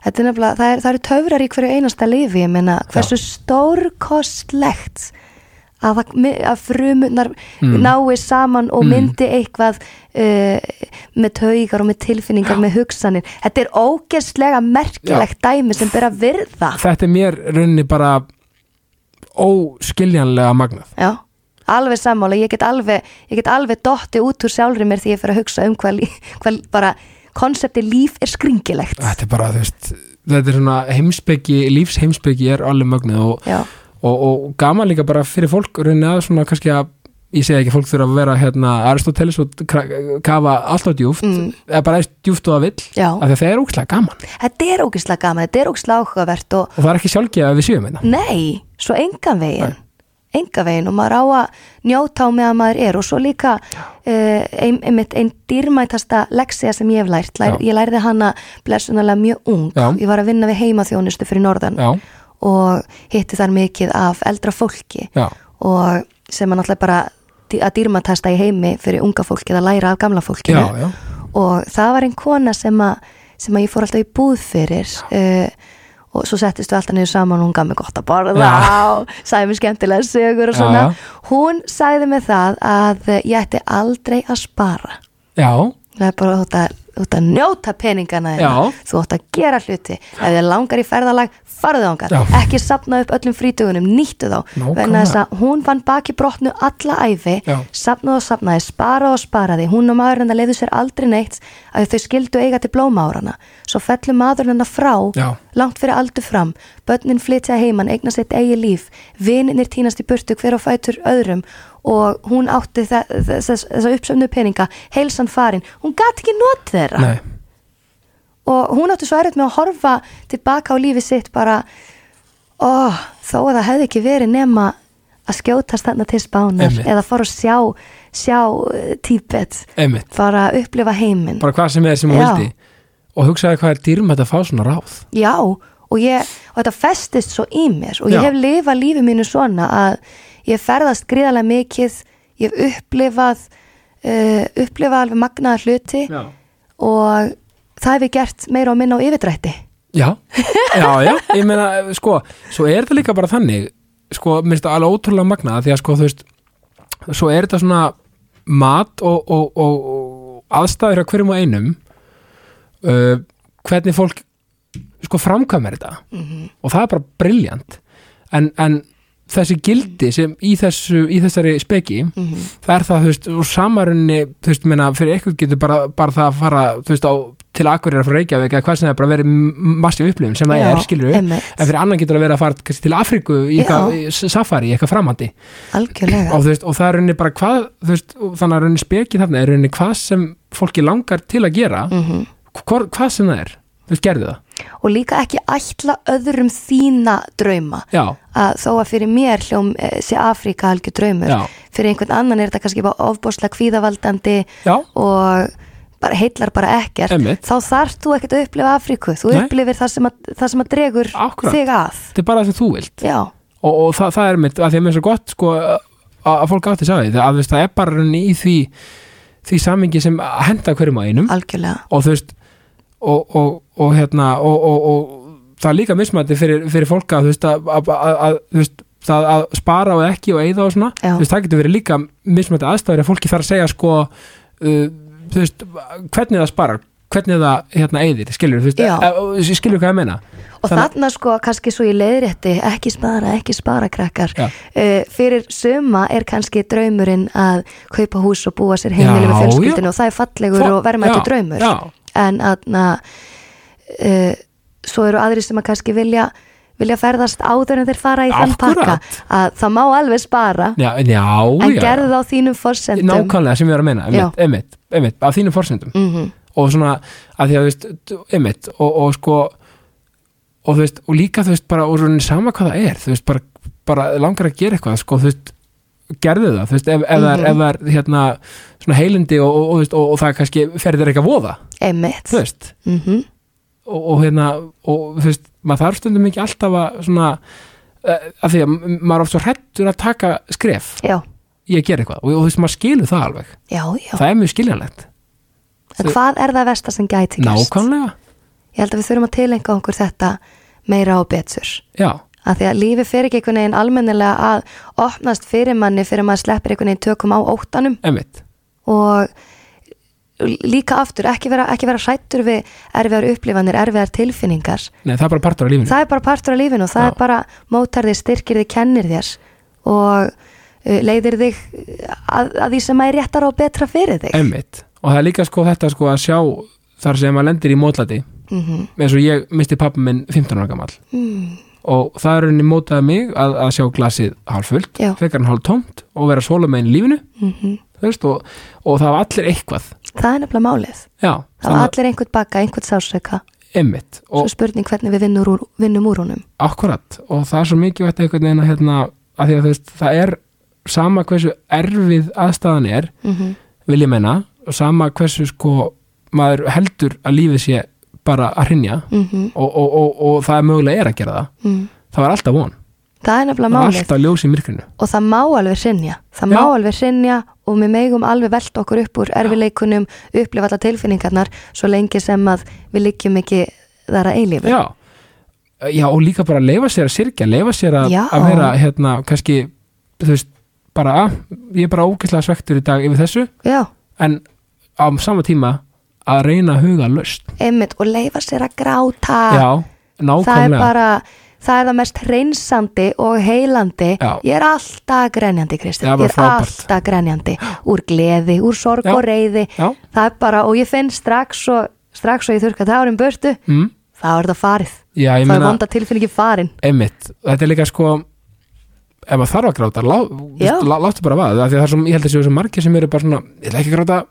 Þetta er nefnilega, það, er, það eru töfrar í hverju einasta lifi, ég meina hversu stórkostlegt að, það- mi- að frumunar nái saman og myndi eitthvað uh, með taugar og með tilfinningar, með hugsanir. Þetta er ógeðslega merkilegt dæmi sem ber að virða. þetta er mér rauninni bara óskiljanlega magnað Já, alveg sammála, ég get alveg, ég get alveg dotti út úr sjálfri mér því ég fer að hugsa um hvað, lí- hvað bara konsepti líf er skringilegt. þetta er bara, þú veist þetta er svona heimspeki, lífsheimspeki er alveg mögnuð og, Já, og, og gaman líka bara fyrir fólk rauninni að svona kannski að ég segi ekki fólk þurfa að vera hérna Aristoteles og kra- kafa alltaf djúft eða bara eins djúft og það vill Mm. Já. af því að það er ókslega gaman þetta er ógeðslega gaman, þetta er ógeðslega áhugavert og Mm. og það er ekki sjálfgeð að við séum hérna Nei, svo engan veginn enga veginn og maður á að njóta á meðan maður er og svo líka uh, ein, einmitt einn dýrmætasta leksija sem ég hef lært, Lær, Já. ég lærði hana blessunarlega mjög ung, Já. ég var að vinna við heimaþjónustu fyrir norðan já, og hitti þar mikið af eldra fólki já, og sem er náttúrulega bara dý- að dýrmatasta í heimi fyrir unga fólkið að læra af gamla fólkinu já, já. og það var einn kona sem að, sem að ég fór alltaf í búð fyrir uh, og svo settist við alltaf niður saman og hún gaf mig gott að borða Já. og sagði mér skemmtilega sögur og Já, svona já. hún sagði mig það að ég ætti aldrei að spara já, það er bara út að, út að njóta peningana þeirna, Já. þú átt að gera hluti ef þið langar í ferðalag, farðu ángar Já. ekki sapna upp öllum frítugunum, nýttu þá Nákvæmlega. vegna þess að hún fann baki brotnu alla æfi, Já. sapnaði og sapnaði sparaði og sparaði, hún og maðurinn hennar leiðu sér aldrei neitt að þau skildu eiga til blómárana, svo fellur maðurinn hennar frá Já. langt fyrir aldur fram börnin flytja heiman, eigna sitt eigi líf vininir týnast í burtu hver á fætur öðrum og hún átti þe- þess- þessa uppsöfnu peninga heilsan farin, hún gat ekki not þeirra nei og hún átti svo erfitt með að horfa tilbaka á lífi sitt bara ó, þó að það hefði ekki verið nema að skjótast þarna til spánar Einmitt. eða fara og sjá, sjá eh, Tíbet, einmitt, fara að upplifa heiminn bara hvað sem er sem hún Já. vildi og hugsaði hvað er dýrmætt að fá svona ráð Já, og, ég, og þetta festist svo í mér og ég Já. hef lifað lífi mínu svona að ég hef ferðast gríðarlega mikið, ég hef upplifað, uh, upplifað alveg magnaða hluti og það hef ég gert meira og minna á yfirdrætti. Já, já, já, ég meina sko, svo er þetta líka bara þannig sko, minnst það alveg ótrúlega magnað því að sko, þú veist, svo er þetta svona mat og, og, og, og aðstæður á hverjum og einum uh, hvernig fólk sko framkvæmur þetta Mhm. og það er bara briljant en, en þessi gildi sem í, þessu, í þessari speki Mhm. það er það, þú veist, úr samarunni þú veist, meina, fyrir eitthvað getur bara, bara það að fara, þú veist, á, til Akureyrar frá Reykjavík eða hvað sem það er bara verið massíf upplifun sem það Já, er, skilur við, einmitt. en fyrir annan getur það verið að fara kannski, til Afríku í Já. eitthvað í s- safari, í eitthvað framandi Algjörlega. og, þú veist, og það er rauninni bara hvað þú veist, og þannig að rauninni spekið þarna er rauninni hvað sem fólki langar til að gera mm -hmm. hvað, sem það er þú veist, gerðu það, Og líka ekki ætla öðrum þína drauma. já, að þó að fyrir mér hljóm eh, sé Afríka algjör draumur Já. fyrir einhvern annan er þetta kannski bara ofbóðslega kvíðavaldandi Já. og bara heillar bara ekkert Einmitt. þá þarf þú ekkert að upplifa Afríku þú Nei. upplifir það sem, að, það sem að dregur Akkúrat. þig að þetta er bara það sem þú vilt Já, og, og það, það er mitt, að því að mér er svo gott sko, að, að fólk átti sagði, að þú veist, það er bara rauninni í því því samingi sem henda hverjum að einum algjörlega og þú veist og, og, og hérna og, og, og það er líka mismætti fyrir, fyrir fólka þú veist að, að, að, að, þú veist, það að spara og ekki og eyða og svona Já. þú veist, það getur verið líka mismætti aðstæður að fólki þarf að segja sko uh, þú veist, hvernig það sparar hvernig það hérna eyðir, skilur þú veist, Já. eh, skilur hvað ég meina Og Þannig- þarna sko kannski svo í leiðrétti ekki spara, ekki spara krakkar Já. uh, fyrir suma er kannski draumurinn að kaupa hús og búa sér Já, heimili með já. fjölskyldinu og það er fallegur Þó- og verðmættu já, draumur já. en aðna uh, svo eru aðri sem að kannski vilja vilja ferðast áður en þeir fara í þann pakka Akkúrat. að það má alveg spara já, en já, en já, gerðu það á þínum forsendum nákvæmlega sem ég er að meina Já. einmitt, einmitt, einmitt, af þínum forsendum Mhm, -hmm. og svona, að því að þú veist einmitt, og, og sko og þú veist, og líka þú veist bara og svona sama hvað það er, þú veist, bara, bara langar að gera eitthvað, sko, þú veist gerðu það, þú veist, ef, ef, það, er, ef það er hérna, svona heilindi og, og, og, þú veist, og, og það kannski ferðir þér eitthvað voða einmitt þú veist, mm og, og hérna og þú veist, maður þarf stundum ekki alltaf að svona, eh, að því að m- maður er oft svo hrettur að taka skref já, í að gera eitthvað, og, og þú veist, maður skilur það alveg já, já það er mjög skiljanlegt en hvað er það versta sem gæti gerst? nákvæmlega, Ég held að við þurfum að tilenga okkur þetta meira og betur. já, Af því að lífi fer ekki einhvern veginn almennilega að opnast fyrir manni fyrir maður sleppir einhvern veginn tökum á óttanum emmitt og líka aftur, ekki vera, ekki vera hrættur við erfiðar upplifanir, erfiðar tilfinningar. nei, það er bara partur af lífinu Það er bara partur af lífinu og það Mhm. Já. er bara mótar þig, styrkir þig, kennir þér og uh, leiðir þig uh, að, að því sem er réttar og betra fyrir þig. emmitt, og það er líka sko þetta sko að sjá þar sem maður lendir í mótlati Mm -hmm. eins og ég misti pappa minn 15 ára gamall Mm. og það er henni mótaði mig að, að sjá glasið hálffullt, Já. Mhm. fekar hann hálftómt og vera sólum einn lífinu þú veist, og, og það var allir eitthvað Það er nefnilega málið. já, Það var allir einhvern baka, einhvern sásöka. emmitt Svo og spurning hvernig við vinnur úr, vinnum úr honum. akkurat, og það er svo mikið vægt einhvern veginn að hérna, af því að þú veist, það er sama hversu erfið aðstæðan er mm vil ég menna og sama hversu sko maður heldur að lífið sé bara að hrinja og, og, og, og það er mögulega er að gera það Mhm. mm. það var alltaf von, það er nefnilega það var málið alltaf ljós í myrkrinu og það má alveg sinja það Já. má alveg sinja og við megum alveg velta okkur upp úr erfileikunum upplifa alla tilfinningarnar svo lengi sem að við liggjum ekki þar að eilífi já. já, og líka bara leifa sér að syrkja leifa sér að, Já. að vera hérna, kannski, þú veist bara, "Ah, ég er bara ógeðslega svektur í dag yfir þessu, já, en á sama tíma að reyna að huga löst einmitt og leifa sér að gráta já, Ah. það er nákvæmlega bara það er það mest hreinsandi og heilandi Já. ég er alltaf grenjandi Kristján Já, bara ég er frábært. alltaf grenjandi úr gleði, úr sorg Já. og reyði já, það er bara, og ég finn strax og, strax og ég þurka tárin burtu mm, þá er það farið, já, ég þá er meina vonda tilfinningi farin einmitt, þetta er líka sko ef maður þarf að gráta lá, Já. lá, láttu bara vaða, því að það er svo, ég held að séu svo margir sem eru bara svona, ég ætla ekki að gráta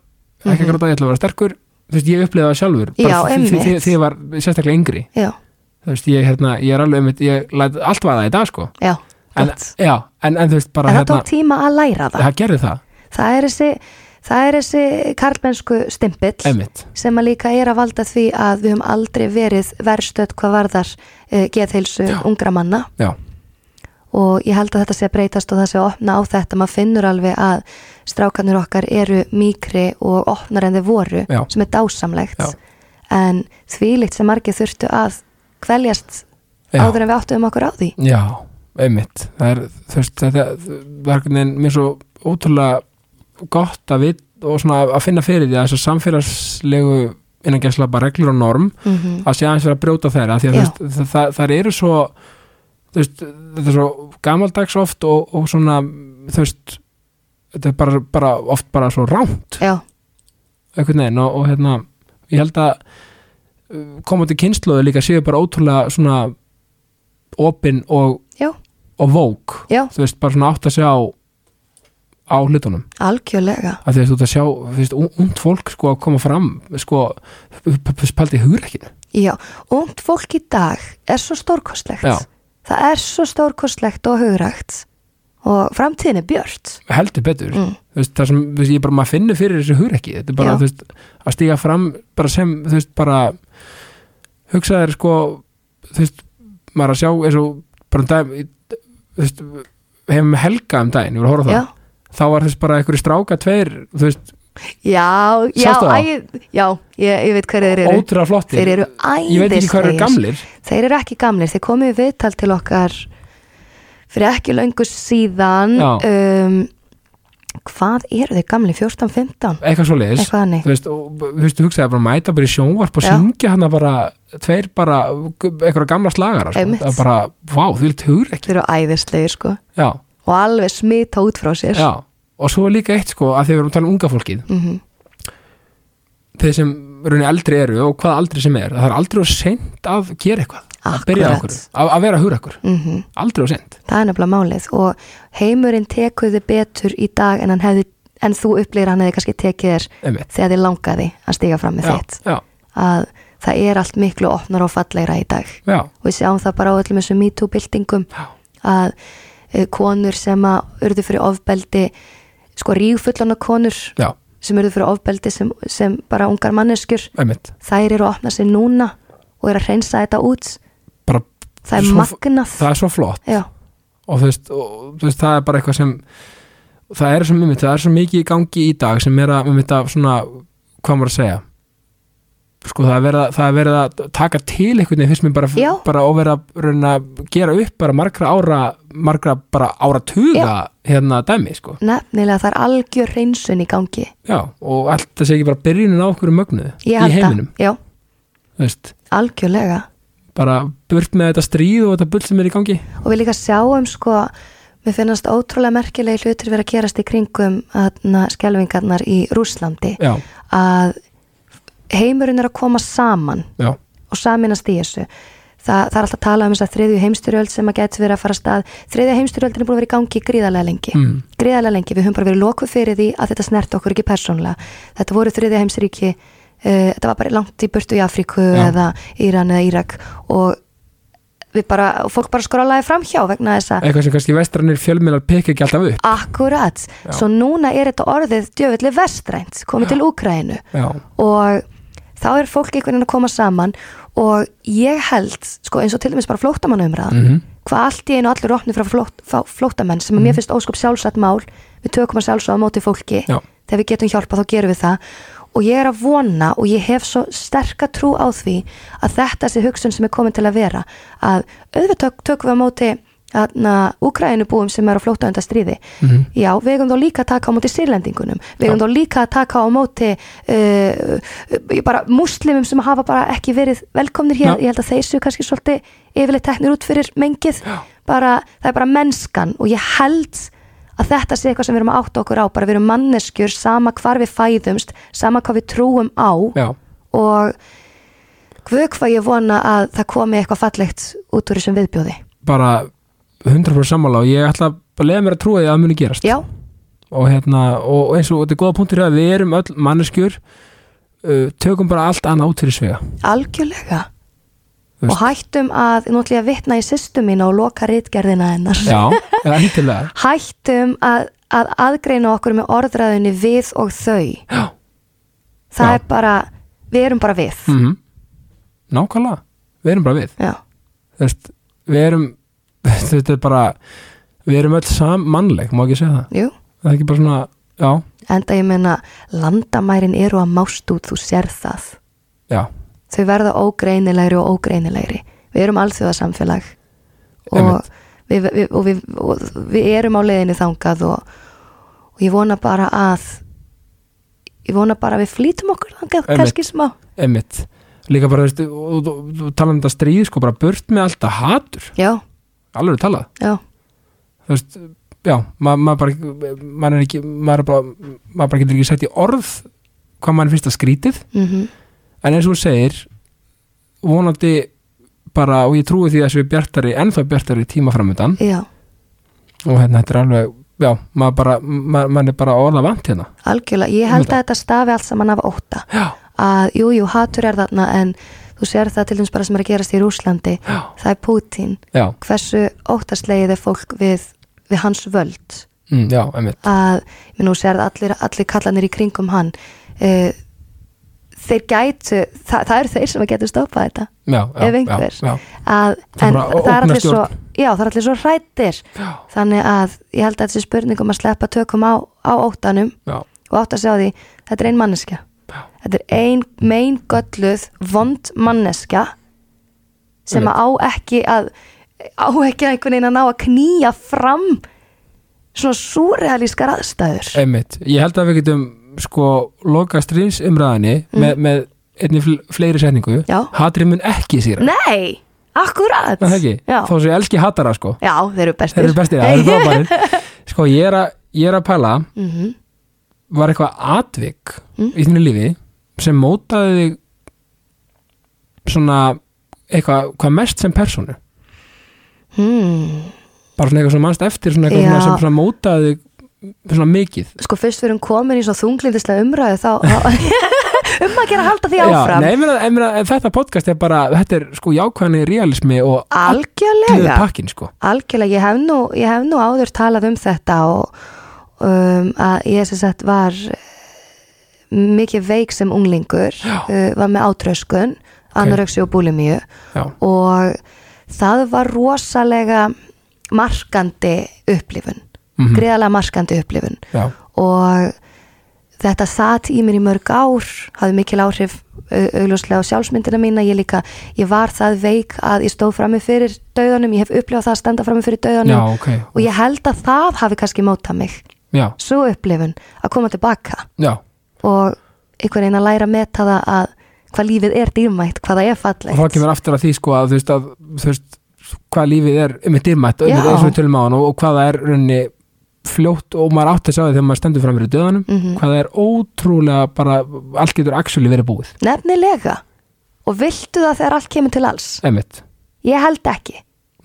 ekki að gráta, ég ætla að vera sterkur þú veist, ég upplifði það sjálfur, bara Mhm. Já, því- því- því- einmitt. því ég var sérstaklega yngri já, þú veist, ég, hérna, ég er alveg einmitt, ég læt allt vaða í dag sko já, en, gott. já, en, en þú veist bara hérna- en það tók tíma að læra það það gerði það, það er þessi, það er þessi karlmennsku stimpill einmitt sem að líka er að valda því að við höfum aldrei verið verðstödd hvað varðar uh, geðheilsu ungra manna já, og ég held að þetta sé að breytast og það sé að opna á þetta, maður finnur alveg að strákanur okkar eru mýkri og opnar en þeir voru Já. sem er dásamlegt Já. en þvílikt sem margir þurftu að kveljast Já. áður en við áttum okkur á því já, einmitt það er, þú veist, þetta það er hvernig mér svo ótrúlega gott að við og svona að finna fyrir því að þessu samfélagslegu innan gæsla bara reglur og norm mm að sé aðeins vera að brjóta þeirra því að þú Já. veist, það, það, það eru svo þú veist, þetta er svo gamaldags oft og, og svona þú veist, þetta er bara, bara oft bara svo rámt Já, einhvern veginn og, og hérna ég held að uh, komandi kynnslóðu líka séu bara ótrúlega svona opin og, Já. og vók já, þú veist, bara svona átt að sjá á hlutunum algjörlega að því að þú ert að sjá, þú veist, und fólk sko að koma fram, sko spaldi hugrekkinu Já, ungd fólk í dag er svo stórkostlegt Já. það er svo stórkostlegt og hugrægt og framtíðin er björt heldur betur mm. þú veist, það sem, þú veist, ég bara maður finnur fyrir þessu hugrekki, þetta er bara, Já. þú veist að stíga fram, bara sem, þú veist, bara hugsa þér sko þú veist, maður að sjá eins og bara um daginn í- þú veist, hefum helga um daginn, ég voru að horfa á Já, það þá var þess bara einhverju stráka tveir þú veist, já, já, Sástu það? æ, já ég, ég veit hverju þeir eru ótrúlega flotti Þeir eru ég veit ekki hvað eru æðislegir. gamlir Þeir eru ekki gamlir, þeir komu í viðtal til okkar fyrir ekki löngu síðan Já. um, Hvað eru þeir gamlir? 14, 15? eitthvað svo leiðis Eitthvað hannig þú veist, og, þú veist, hugsaði bara mæta bara í sjónvarp og Já. syngja hana bara tveir bara, einhverja gamla slagara sko. Einmitt. það er bara, vá, þú vilt hugrekki Þeir eru æðislegir sko já, og alveg smita út frá sér Já, og svo er líka eitt sko að þegar við erum að tala um unga fólkið Mhm. þeir sem raunni eldri eru og hvaða aldri sem er það er aldrei og sent að gera eitthvað að byrja á Akkúrat. okkur, að, að vera hugur okkur Mhm. aldrei og sent Það er nefnilega málið og heimurinn tekur þið betur í dag en, hann hefði, en þú upplýr hann hefði kannski tekið þér einmitt. þegar þið langaði að stíga fram með já, þitt já, að það er allt miklu opnar og fallegra í dag já, og við sjáum það bara á öllum þessum MeToo-byltingum Já. að eh, konur sem að urðu fyrir ofbeldi sko rígfullana konur já, sem urðu fyrir ofbeldi sem, sem bara ungar manneskjur einmitt þær eru að opna sig núna og eru að hreinsa þetta út bara, það er Svo- magnað það er svo flott Já, og þú veist, og, þú veist, það er bara eitthvað sem það er sem einmitt, það er svo mikið í gangi í dag sem er að, einmitt að svona hvað maður að segja sko það er verið að, það er verið að taka til einhvern veginn fyrst mér bara, Já. bara og verið að rauna, gera upp bara margra ára margra bara áratuga hérna dæmi sko nefnilega það er algjör hreinsun í gangi já, og allt það sé ekki bara byrjunin á okkur mögnuð í Ég held það. heiminum Já, þú veist, algjörlega bara burt með þetta stríð og þetta bull sem er í gangi og við líka sjáum sko mér finnast ótrúlega merkilegi hlutir vera að gerast í kringum þarna skelfingarnar í Rúslandi já, að heimurinn er að koma saman já, og saminast í þessu Þa, það er alltaf að tala um þess að þriðju heimstyrjöld sem að geti verið að fara af stað þriðju heimstyrjöldin er búin að vera í gangi gríðarlega lengi mm, gríðarlega lengi, við höfum bara verið lokuð fyrir því að þetta snert okkur ekki persónlega þetta voru þriðja heimsríki uh, þetta var bara langt í burtu í Afríku Já. eða Íran eða Írak og við bara, fólk bara skrólaði framhjá vegna þess að eitthvað sem kannski vestranir fjölmiðlar pekka ekki alltaf upp akkurat, svo núna er þetta orðið djöfulli vestrænt, komið til Úkrænu já, og þá er fólk einhvern veginn að koma saman og ég held, sko eins og til dæmis bara flóttamannumræðan, Mhm. hvað allt í einu allir opni frá flót, fá- flóttamenn sem mér finnst ósköp sjálfsagt mál, við tökum að sjálfsagt á móti fólki, Já. þegar við getum hjálpa þá gerum við það og ég er að vona og ég hef svo sterka trú á því að þetta sé hugsun sem er komin til að vera að auðvitað tök- tökum við á móti þarna Úkrænubúum sem eru að flóta undan stríði já, við eigum þá líka að taka á móti sýrlendingunum, við eigum Mhm. Já. þá líka að taka á móti uh, uh, bara múslimum sem hafa bara ekki verið velkomnir hér, Já. ég held að þeir séu kannski svolítið yfirleitt teknir út fyrir mengið bara, það er bara mennskan og ég held að þetta sé eitthvað sem við erum að átta okkur á bara við erum manneskjur, sama hvar við fæðumst sama hvað við trúum á já, og guð hvað ég vona að það komi eitthvað fallegt út úr þessum viðbjóði bara 100% sammála og ég ætla að leiða mér að trúa því að það muni gerast já, og, hérna, og eins og þetta er góða punktur að við erum öll manneskjur uh, tökum bara allt annað út fyrir svega algjörlega Þú veist. og hættum að, nú ætlum ég að vitna í sýstu mína og loka rítgerðina hennar já, eða hittilega hættum að, að aðgreina okkur með orðræðunni við og þau já, það Já. er bara, við erum bara við mm nákvæmlega við erum bara við já, Þú veist, við erum þetta er bara við erum öll sam mannleg, má ekki segja það jú það er ekki bara svona, já, enda ég meina, landamærin eru að mást út, þú sér það já þau verða ógreinilegri og ógreinilegri við erum alþjóðasamfélag og Einmitt. við, við, og, við, og við erum á leiðinni þangað og, og ég vona bara að ég vona bara að við flýtum okkur þangað, Einmitt. kannski smá einmitt líka bara, þú veist, og- og- og tala um þetta stríð sko, bara burt með alltaf hatur já, alveg talað, já, þú veist já, ma- maður bara maður er ekki, maður er bara maður bara getur ekki sett í orð hvað maður finnst að skrítið, mhm en eins og þú segir vonandi bara, og ég trúi því að þessu er bjartari ennþá bjartari tímaframöndan já, og hérna, þetta er alveg, já, maður bara maður, maður er bara orða vant hérna algjörlega ég held að þetta stafi allt saman af óta já, að jú, jú, hatur er þarna en þú sér það til dæmis bara sem er að gerast í Rúslandi Já. það er Putin já, hversu óttaslegið er fólk við, við hans völd mm, já, einmitt að, ég meina, þú sér allir, allir kallanir í kringum hann uh, þeir gætu það, það eru þeir sem að getur stoppað þetta já, já, ef einhver já, já. Að, Það er en bara það er allir svo ógnarstjórn. já, það er allir svo hrættir Já. þannig að ég held að þessi spurning um að sleppa tökum á, á óttanum já, og átt að segja því, þetta er ein manneskja þetta er ein meingölluð vond manneskja sem að á ekki að á ekki að einhvern veginn að ná að knýja fram svona súrealískar aðstæður einmitt ég held að við getum sko loka stríðsumræðinni með, með einni fl fleiri setningu Mm. Já. hatrið mun ekki síra Nei, akkurat það ekki, Já. þó sem ég elski hatara sko Já, þeir eru bestir þeir eru bestir, það eru frábærir sko ég er, að, ég er að pæla Mhm. var eitthvað atvik Mm. í þínu lífi sem mótaði þig svona eitthvað, hvað mest sem personu hmm. bara svona eitthvað sem mannst eftir svona eitthvað svona Já. sem svona mótaði þig svona mikið Sko fyrst við erum komin í svona þunglindislega umræðu þá, þá um að gera að halda því áfram nei, mena, mena, þetta podcast er bara þetta er sko jákvæðni realismi og allur Algjörlega pakkin sko Algjörlega, ég hef nú, ég hef nú áður talað um þetta og um, að ég sem sagt var eh, mikið veik sem unglingur, Já. uh, var með átröskun, anorexi og búlimíu já, og það var rosalega markandi upplifun, Mhm. greiðalega markandi upplifun já, og þetta satt í mér í mörg ár hafði mikil áhrif au- augljóslega á sjálfsmyndina mína, ég líka ég var það veik að ég stóð frammi fyrir dauðanum, ég hef upplifað það að standa frammi fyrir dauðanum já, ok og ég held að það hafi kannski mótað mig, já, svo upplifun að koma tilbaka já, og einhvern veginn að læra að meta það að hvað lífið er dýrmætt, hvað það er og þá fallegt kemur aftur að því sko að þú veist að þú veist hvað lífið er með dýrmætt og Já. einmitt eins og við tölum á hann og, og hvað það er rauninni fljótt og maður átt að sjá því þegar maður stendur fram fyrir döðanum Mhm. hvað það er ótrúlega bara allt getur actually verið búið nefnilega og viltu það þegar allt kemur til alls einmitt, ég held ekki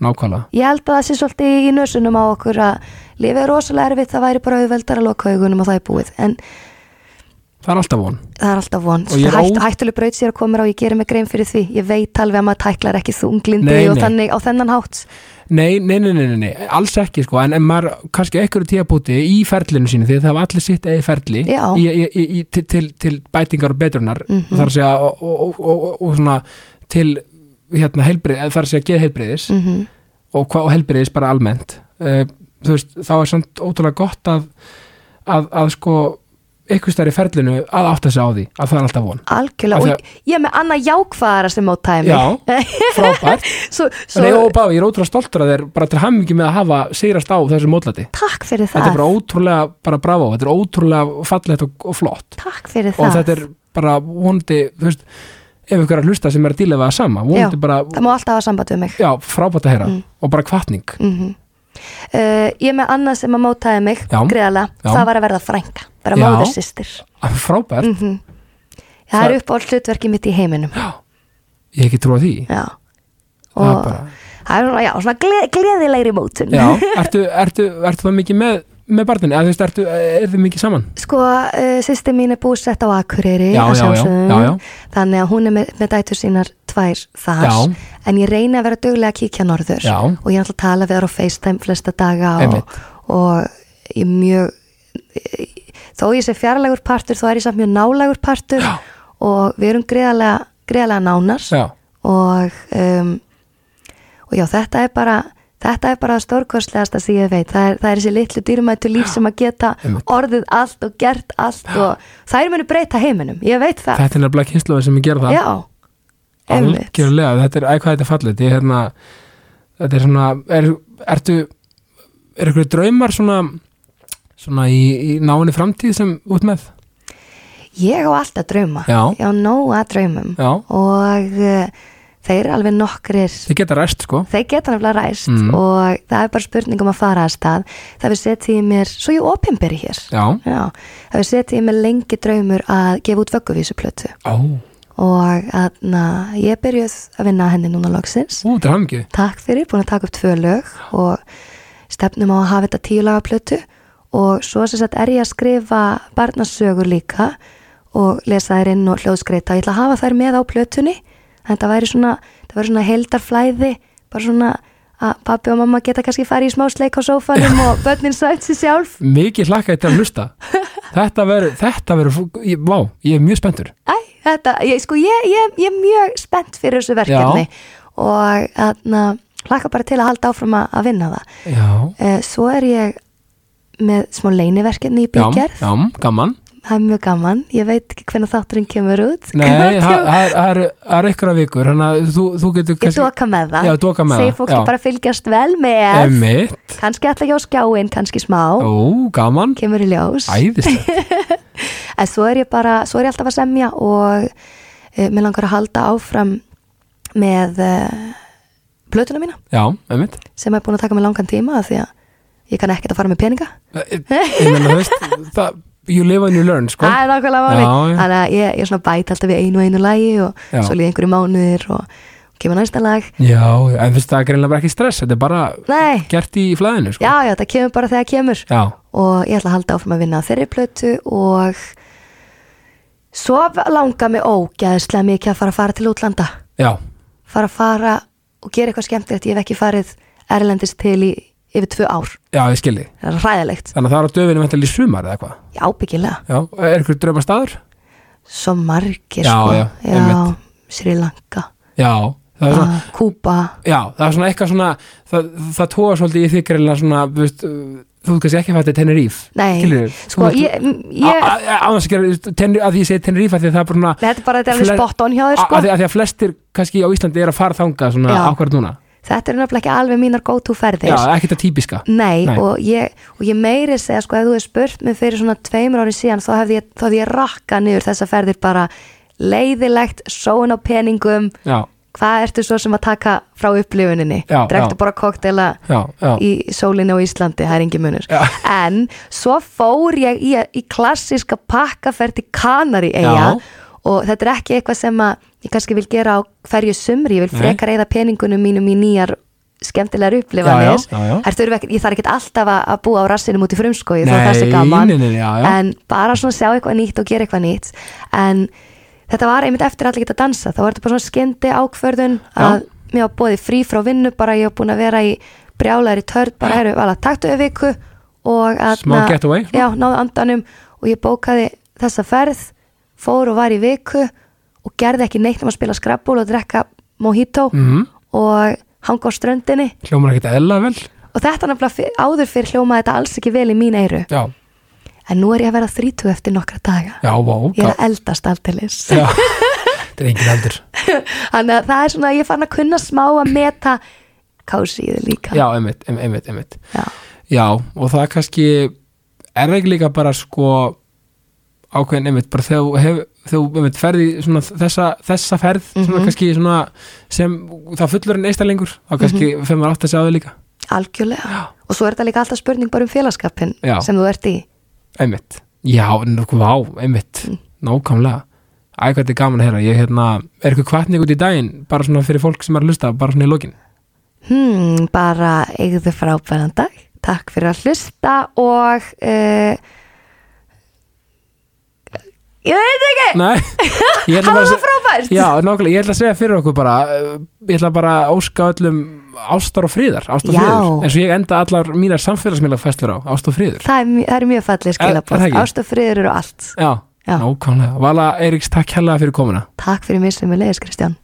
nákvæmlega Ég held að það sé svolítið í nösunum á okkur að lifið er rosalega erfitt, það væri bara auðveldar að loka augunum og það er búið. En það er alltaf von það er alltaf von, Og ég er hætt, ó- hættuleg braut sér að koma og ég gerir mig grein fyrir því ég veit alveg að maður tæklar ekki þunglindi Nei, og nei. þannig á þennan hátt Nei, nei, nei, nei, nei, nei, alls ekki sko en, en maður kannski á einhverju tíðabúti í ferlinu sínu því að það hafa allir sitt eigi ferli í, Já. í, í, í, til, til, til bætingar og betrunar Mhm. þar að segja og, og, og, og, og svona til hérna helbrið, þar að segja geð helbriðis mm og, hva- og helbriðis bara almennt uh, þú veist, þá er samt ótrúlega gott að, að, að sko einhvers staðar í ferlinu að átta sig á því að það er alltaf von algjörlega, Af og því að- ég, ég er með annað jákvæðara sem á tæmi Já, frábært svo, svo, Nei, og bá, ég er ótrúlega stoltur að þeir bara til hammingi með að hafa sigrast á þessu mótlati takk fyrir þetta er það bara ótrúlega, bara bravo þetta er ótrúlega fallegt og, og flott takk fyrir og það, þetta er bara vonandi þú veist, ef ykkur er að hlusta sem er að díla við það sama vonandi Já, bara, það má alltaf hafa samband við mig já, frábært að heyra Mm. og bara kvartning, mm uh, ég er með annað sem að mótaði mig Já. greiðlega, Já. það var að verða frænka bara Já. móður sýstir Mm. frábært Mhm. það Það- er upp á hlutverki mitt í heiminum ég hef ekki trúa því já. Það er og bara- það er svona, já, svona gle, gleðilegri mótun já, ertu, ertu, ertu það mikið með með barninu, eða þú veist, ertu, er þið mikið saman Sko, uh, sýsti mín er búsett á Akureyri Já, já, að já, sjálfsögðu. já, já. Þannig að hún er með, með dætur sínar tvær þar Já. En ég reyni að vera duglega að kíkja norður Já. Og ég ætla að tala við þar á FaceTime flesta daga Einmitt. og, og ég er mjög Þó ég sé fjarlægur partur, þá er ég samt mjög nálægur partur já. Og við erum greiðlega, greiðlega nánar já, og, um, og já, þetta er bara þetta er bara stórkostlegasta sem ég veit það er, það er þessi litlu dýrmættu líf sem að geta einmitt. orðið allt og gert allt og þær munu breyta heiminum ég veit það, þetta er nefnilega kynsluðin sem ég gera það já einmitt, algjörlega, þetta er, æ, hvað þetta er fallið þetta er hérna, þetta er svona er, ertu, er ykkur draumar svona, svona í, í náinni framtíð sem út með ég á alltaf drauma Já. ég á nóga draumum já, og uh, þeir eru alveg nokkrir þið geta ræst sko þeir geta nefnilega ræst Mm. og það er bara spurning um að fara að stað það við setja í mér, svo ég opinberi hér já, Já, það við setja í mér lengi draumur að gefa út vögguvísuplötu ó, og að, na, ég er byrjuð að vinna að henni núna loksins. ú, þetta er hamingið Takk fyrir, búin að taka upp tvö lög og stefnum á að hafa þetta tíu laga plötu og svo sem sagt er ég að skrifa barnasögur líka og lesa þær inn og hljóðskreita. Ég ætla að hafa þær með á plötunni, þetta væri svona, þetta væri svona heildarflæði, bara svona að pappi og mamma geta kannski farið í smá sleik á sófanum og börnin sætt sér sjálf. mikið hlakka þetta að hlusta þetta verður, þetta verður ég- vá, ég er mjög spenntur Æ, þetta, ég, sko, ég, ég, ég er mjög spennt fyrir þessu verkefni og þarna, hlakka bara til að halda áfram að, að vinna það. já, Eh, Svo er ég með smá leiniverkefni í já, byggerð, já, gaman það er mjög gaman, ég veit ekki hvernig þátturinn kemur út. nei, það það er- það eru- það eru ykkur af vikur þannig að þú, þú getur Ég doka með það, Já, doka með segi það, fólki já. bara að fylgjast vel með, emitt, kannski ætla ekki á skjáin, kannski smá, ó, gaman kemur í ljós. æðislegt, En svo er ég bara, svo er ég alltaf að semja og e, mér langar að halda áfram með e, blötuna mína já, emitt sem er búin að taka mig langan tíma af því að ég kann ekkert að fara með peninga. ég ég meina, þú veist, það you live and you learn, sko Það er Já, nákvæmlega máli. já. Þannig að ég, ég svona bæti alltaf við einu og einu lagi og Já. svo líði einhverju mánuðir og kemur næsta lag. já, en þú veist, það er greinlega bara ekki stress þetta er bara Nei, gert í flæðinu, sko já, já, það kemur bara þegar það kemur. já, Og ég ætla að halda áfram að vinna á þeirri plötu og svo langar mig ógæðislega mikið að fara að fara til útlanda. já, Fara að fara og gera eitthvað skemmtilegt. Ég hef ekki farið erlendis til í yfir tvö ár. já, ég skilji Það er ræðilegt. þannig að það er á döfinu vantilega í sumar eða hvað Já, byggilega. já, er ykkur drauma staður? Svo margir Já, sko. já, einmitt. Sri Lanka já, það er svona ah, Kúba Já, það er svona eitthvað svona það, það tóa svolítið í þig greinlega svona þú veist, uh, þú veist kannski ekki að fæta Teneríf Nei, Skilurðu? sko Þú ég, veist, ég á- á- á- án þess að gera, þú veist, Teneri- að því ég segi Teneríf að því að það er bara svona Nei, Þetta er bara þetta er alveg Fle- spot on hjá þér sko að, því, að því að flestir kannski á Íslandi er að fara þangað svona Já. akkurat núna Þetta er nefnilega ekki alveg mínar go-to ferðir Já, ekki það típiska Nei, Nei. Og, ég, og ég meiri segja sko ef þú hefði spurt mig fyrir svona tveimur ári síðan þá hefði ég, þá hefði ég rakka niður þessa ferðir bara leiðilegt, sóun á peningum Já, hvað ertu svo sem að taka frá upplifuninni Já, já. drektu bara koktela já, já, í sólinni á Íslandi, það er engin munur Já. en svo fór ég í, í klassiska pakkaferð til Kanari eiga Já. og þetta er ekki eitthvað sem að ég kannski vil gera á hverju sumri, ég vil Nei. frekar eða peningunum mínum í nýjar skemmtilegar upplifanir Já, já, já, já. Þær þurfa ekkert- ég þarf ekkert alltaf að, að búa á rassinum út í frumskoði þó Nei, það sé gaman nei, nei, nei, já, já. en bara svona sjá eitthvað nýtt og gera eitthvað nýtt en þetta var einmitt eftir að allir geta dansa þá var þetta bara svona skendi ákvörðun að mér var bóðið frí frá vinnu bara ég var búin að vera í brjálæri törn bara heru, vala, taktu við viku og að Smá getaway, svona. já, náðu andanum og ég bókaði þessa ferð fór og var í viku og gerði ekki neitt um að spila skrabbúl og drekka mojito Mhm. og hanga á ströndinni hljómar ekkert eðla vel og þetta nefnilega fyr, áður fyrir hljómaði þetta alls ekki vel í mín eiru já, en nú er ég að vera 30 eftir nokkra daga já, vá ég er já, að eldast alltilis já. þetta er engin eldur þannig að það er svona að ég fann að kunna smá að meta kásíðu líka já, einmitt, einmitt, einmitt, einmitt Já. já, og það kannski er ekki líka bara sko ákveðin, einmitt, bara þegar þú hef, þegar þú, einmitt, ferði svona þessa, þessa ferð, svona kannski svona sem, það fullur en eista lengur þá kannski mm -hmm. fyrir maður átt að sjá þau líka algjörlega og svo er þetta líka alltaf spurning bara um félagskapin Já. sem þú ert í einmitt, já, nokkuð vá einmitt, nákvæmlega Æ, hvað þetta er gaman að heyra, ég hérna er eitthvað kvartning út í daginn, bara svona fyrir fólk sem er að hlusta, bara svona í lokin hmm, bara eigðu frábæran dag takk fyrir að hlusta og uh, ég veit ekki Nei, ég ætla Hafa bara að það se- frábært. Já, nákvæmlega, ég ætla að segja fyrir okkur bara eh, Ég ætla bara að óska öllum ástar og friðar, ástar og Já. friður eins og ég enda allar mínar samfélagsmiðla festur á, ástar og friður það er, mj- það er mjög fallið Er- er skilabóð það ekki? ást og friður og allt Já, Já. nákvæmlega Vala Eiríks, takk hérlega fyrir komuna takk fyrir mér sem er leiðis Kristján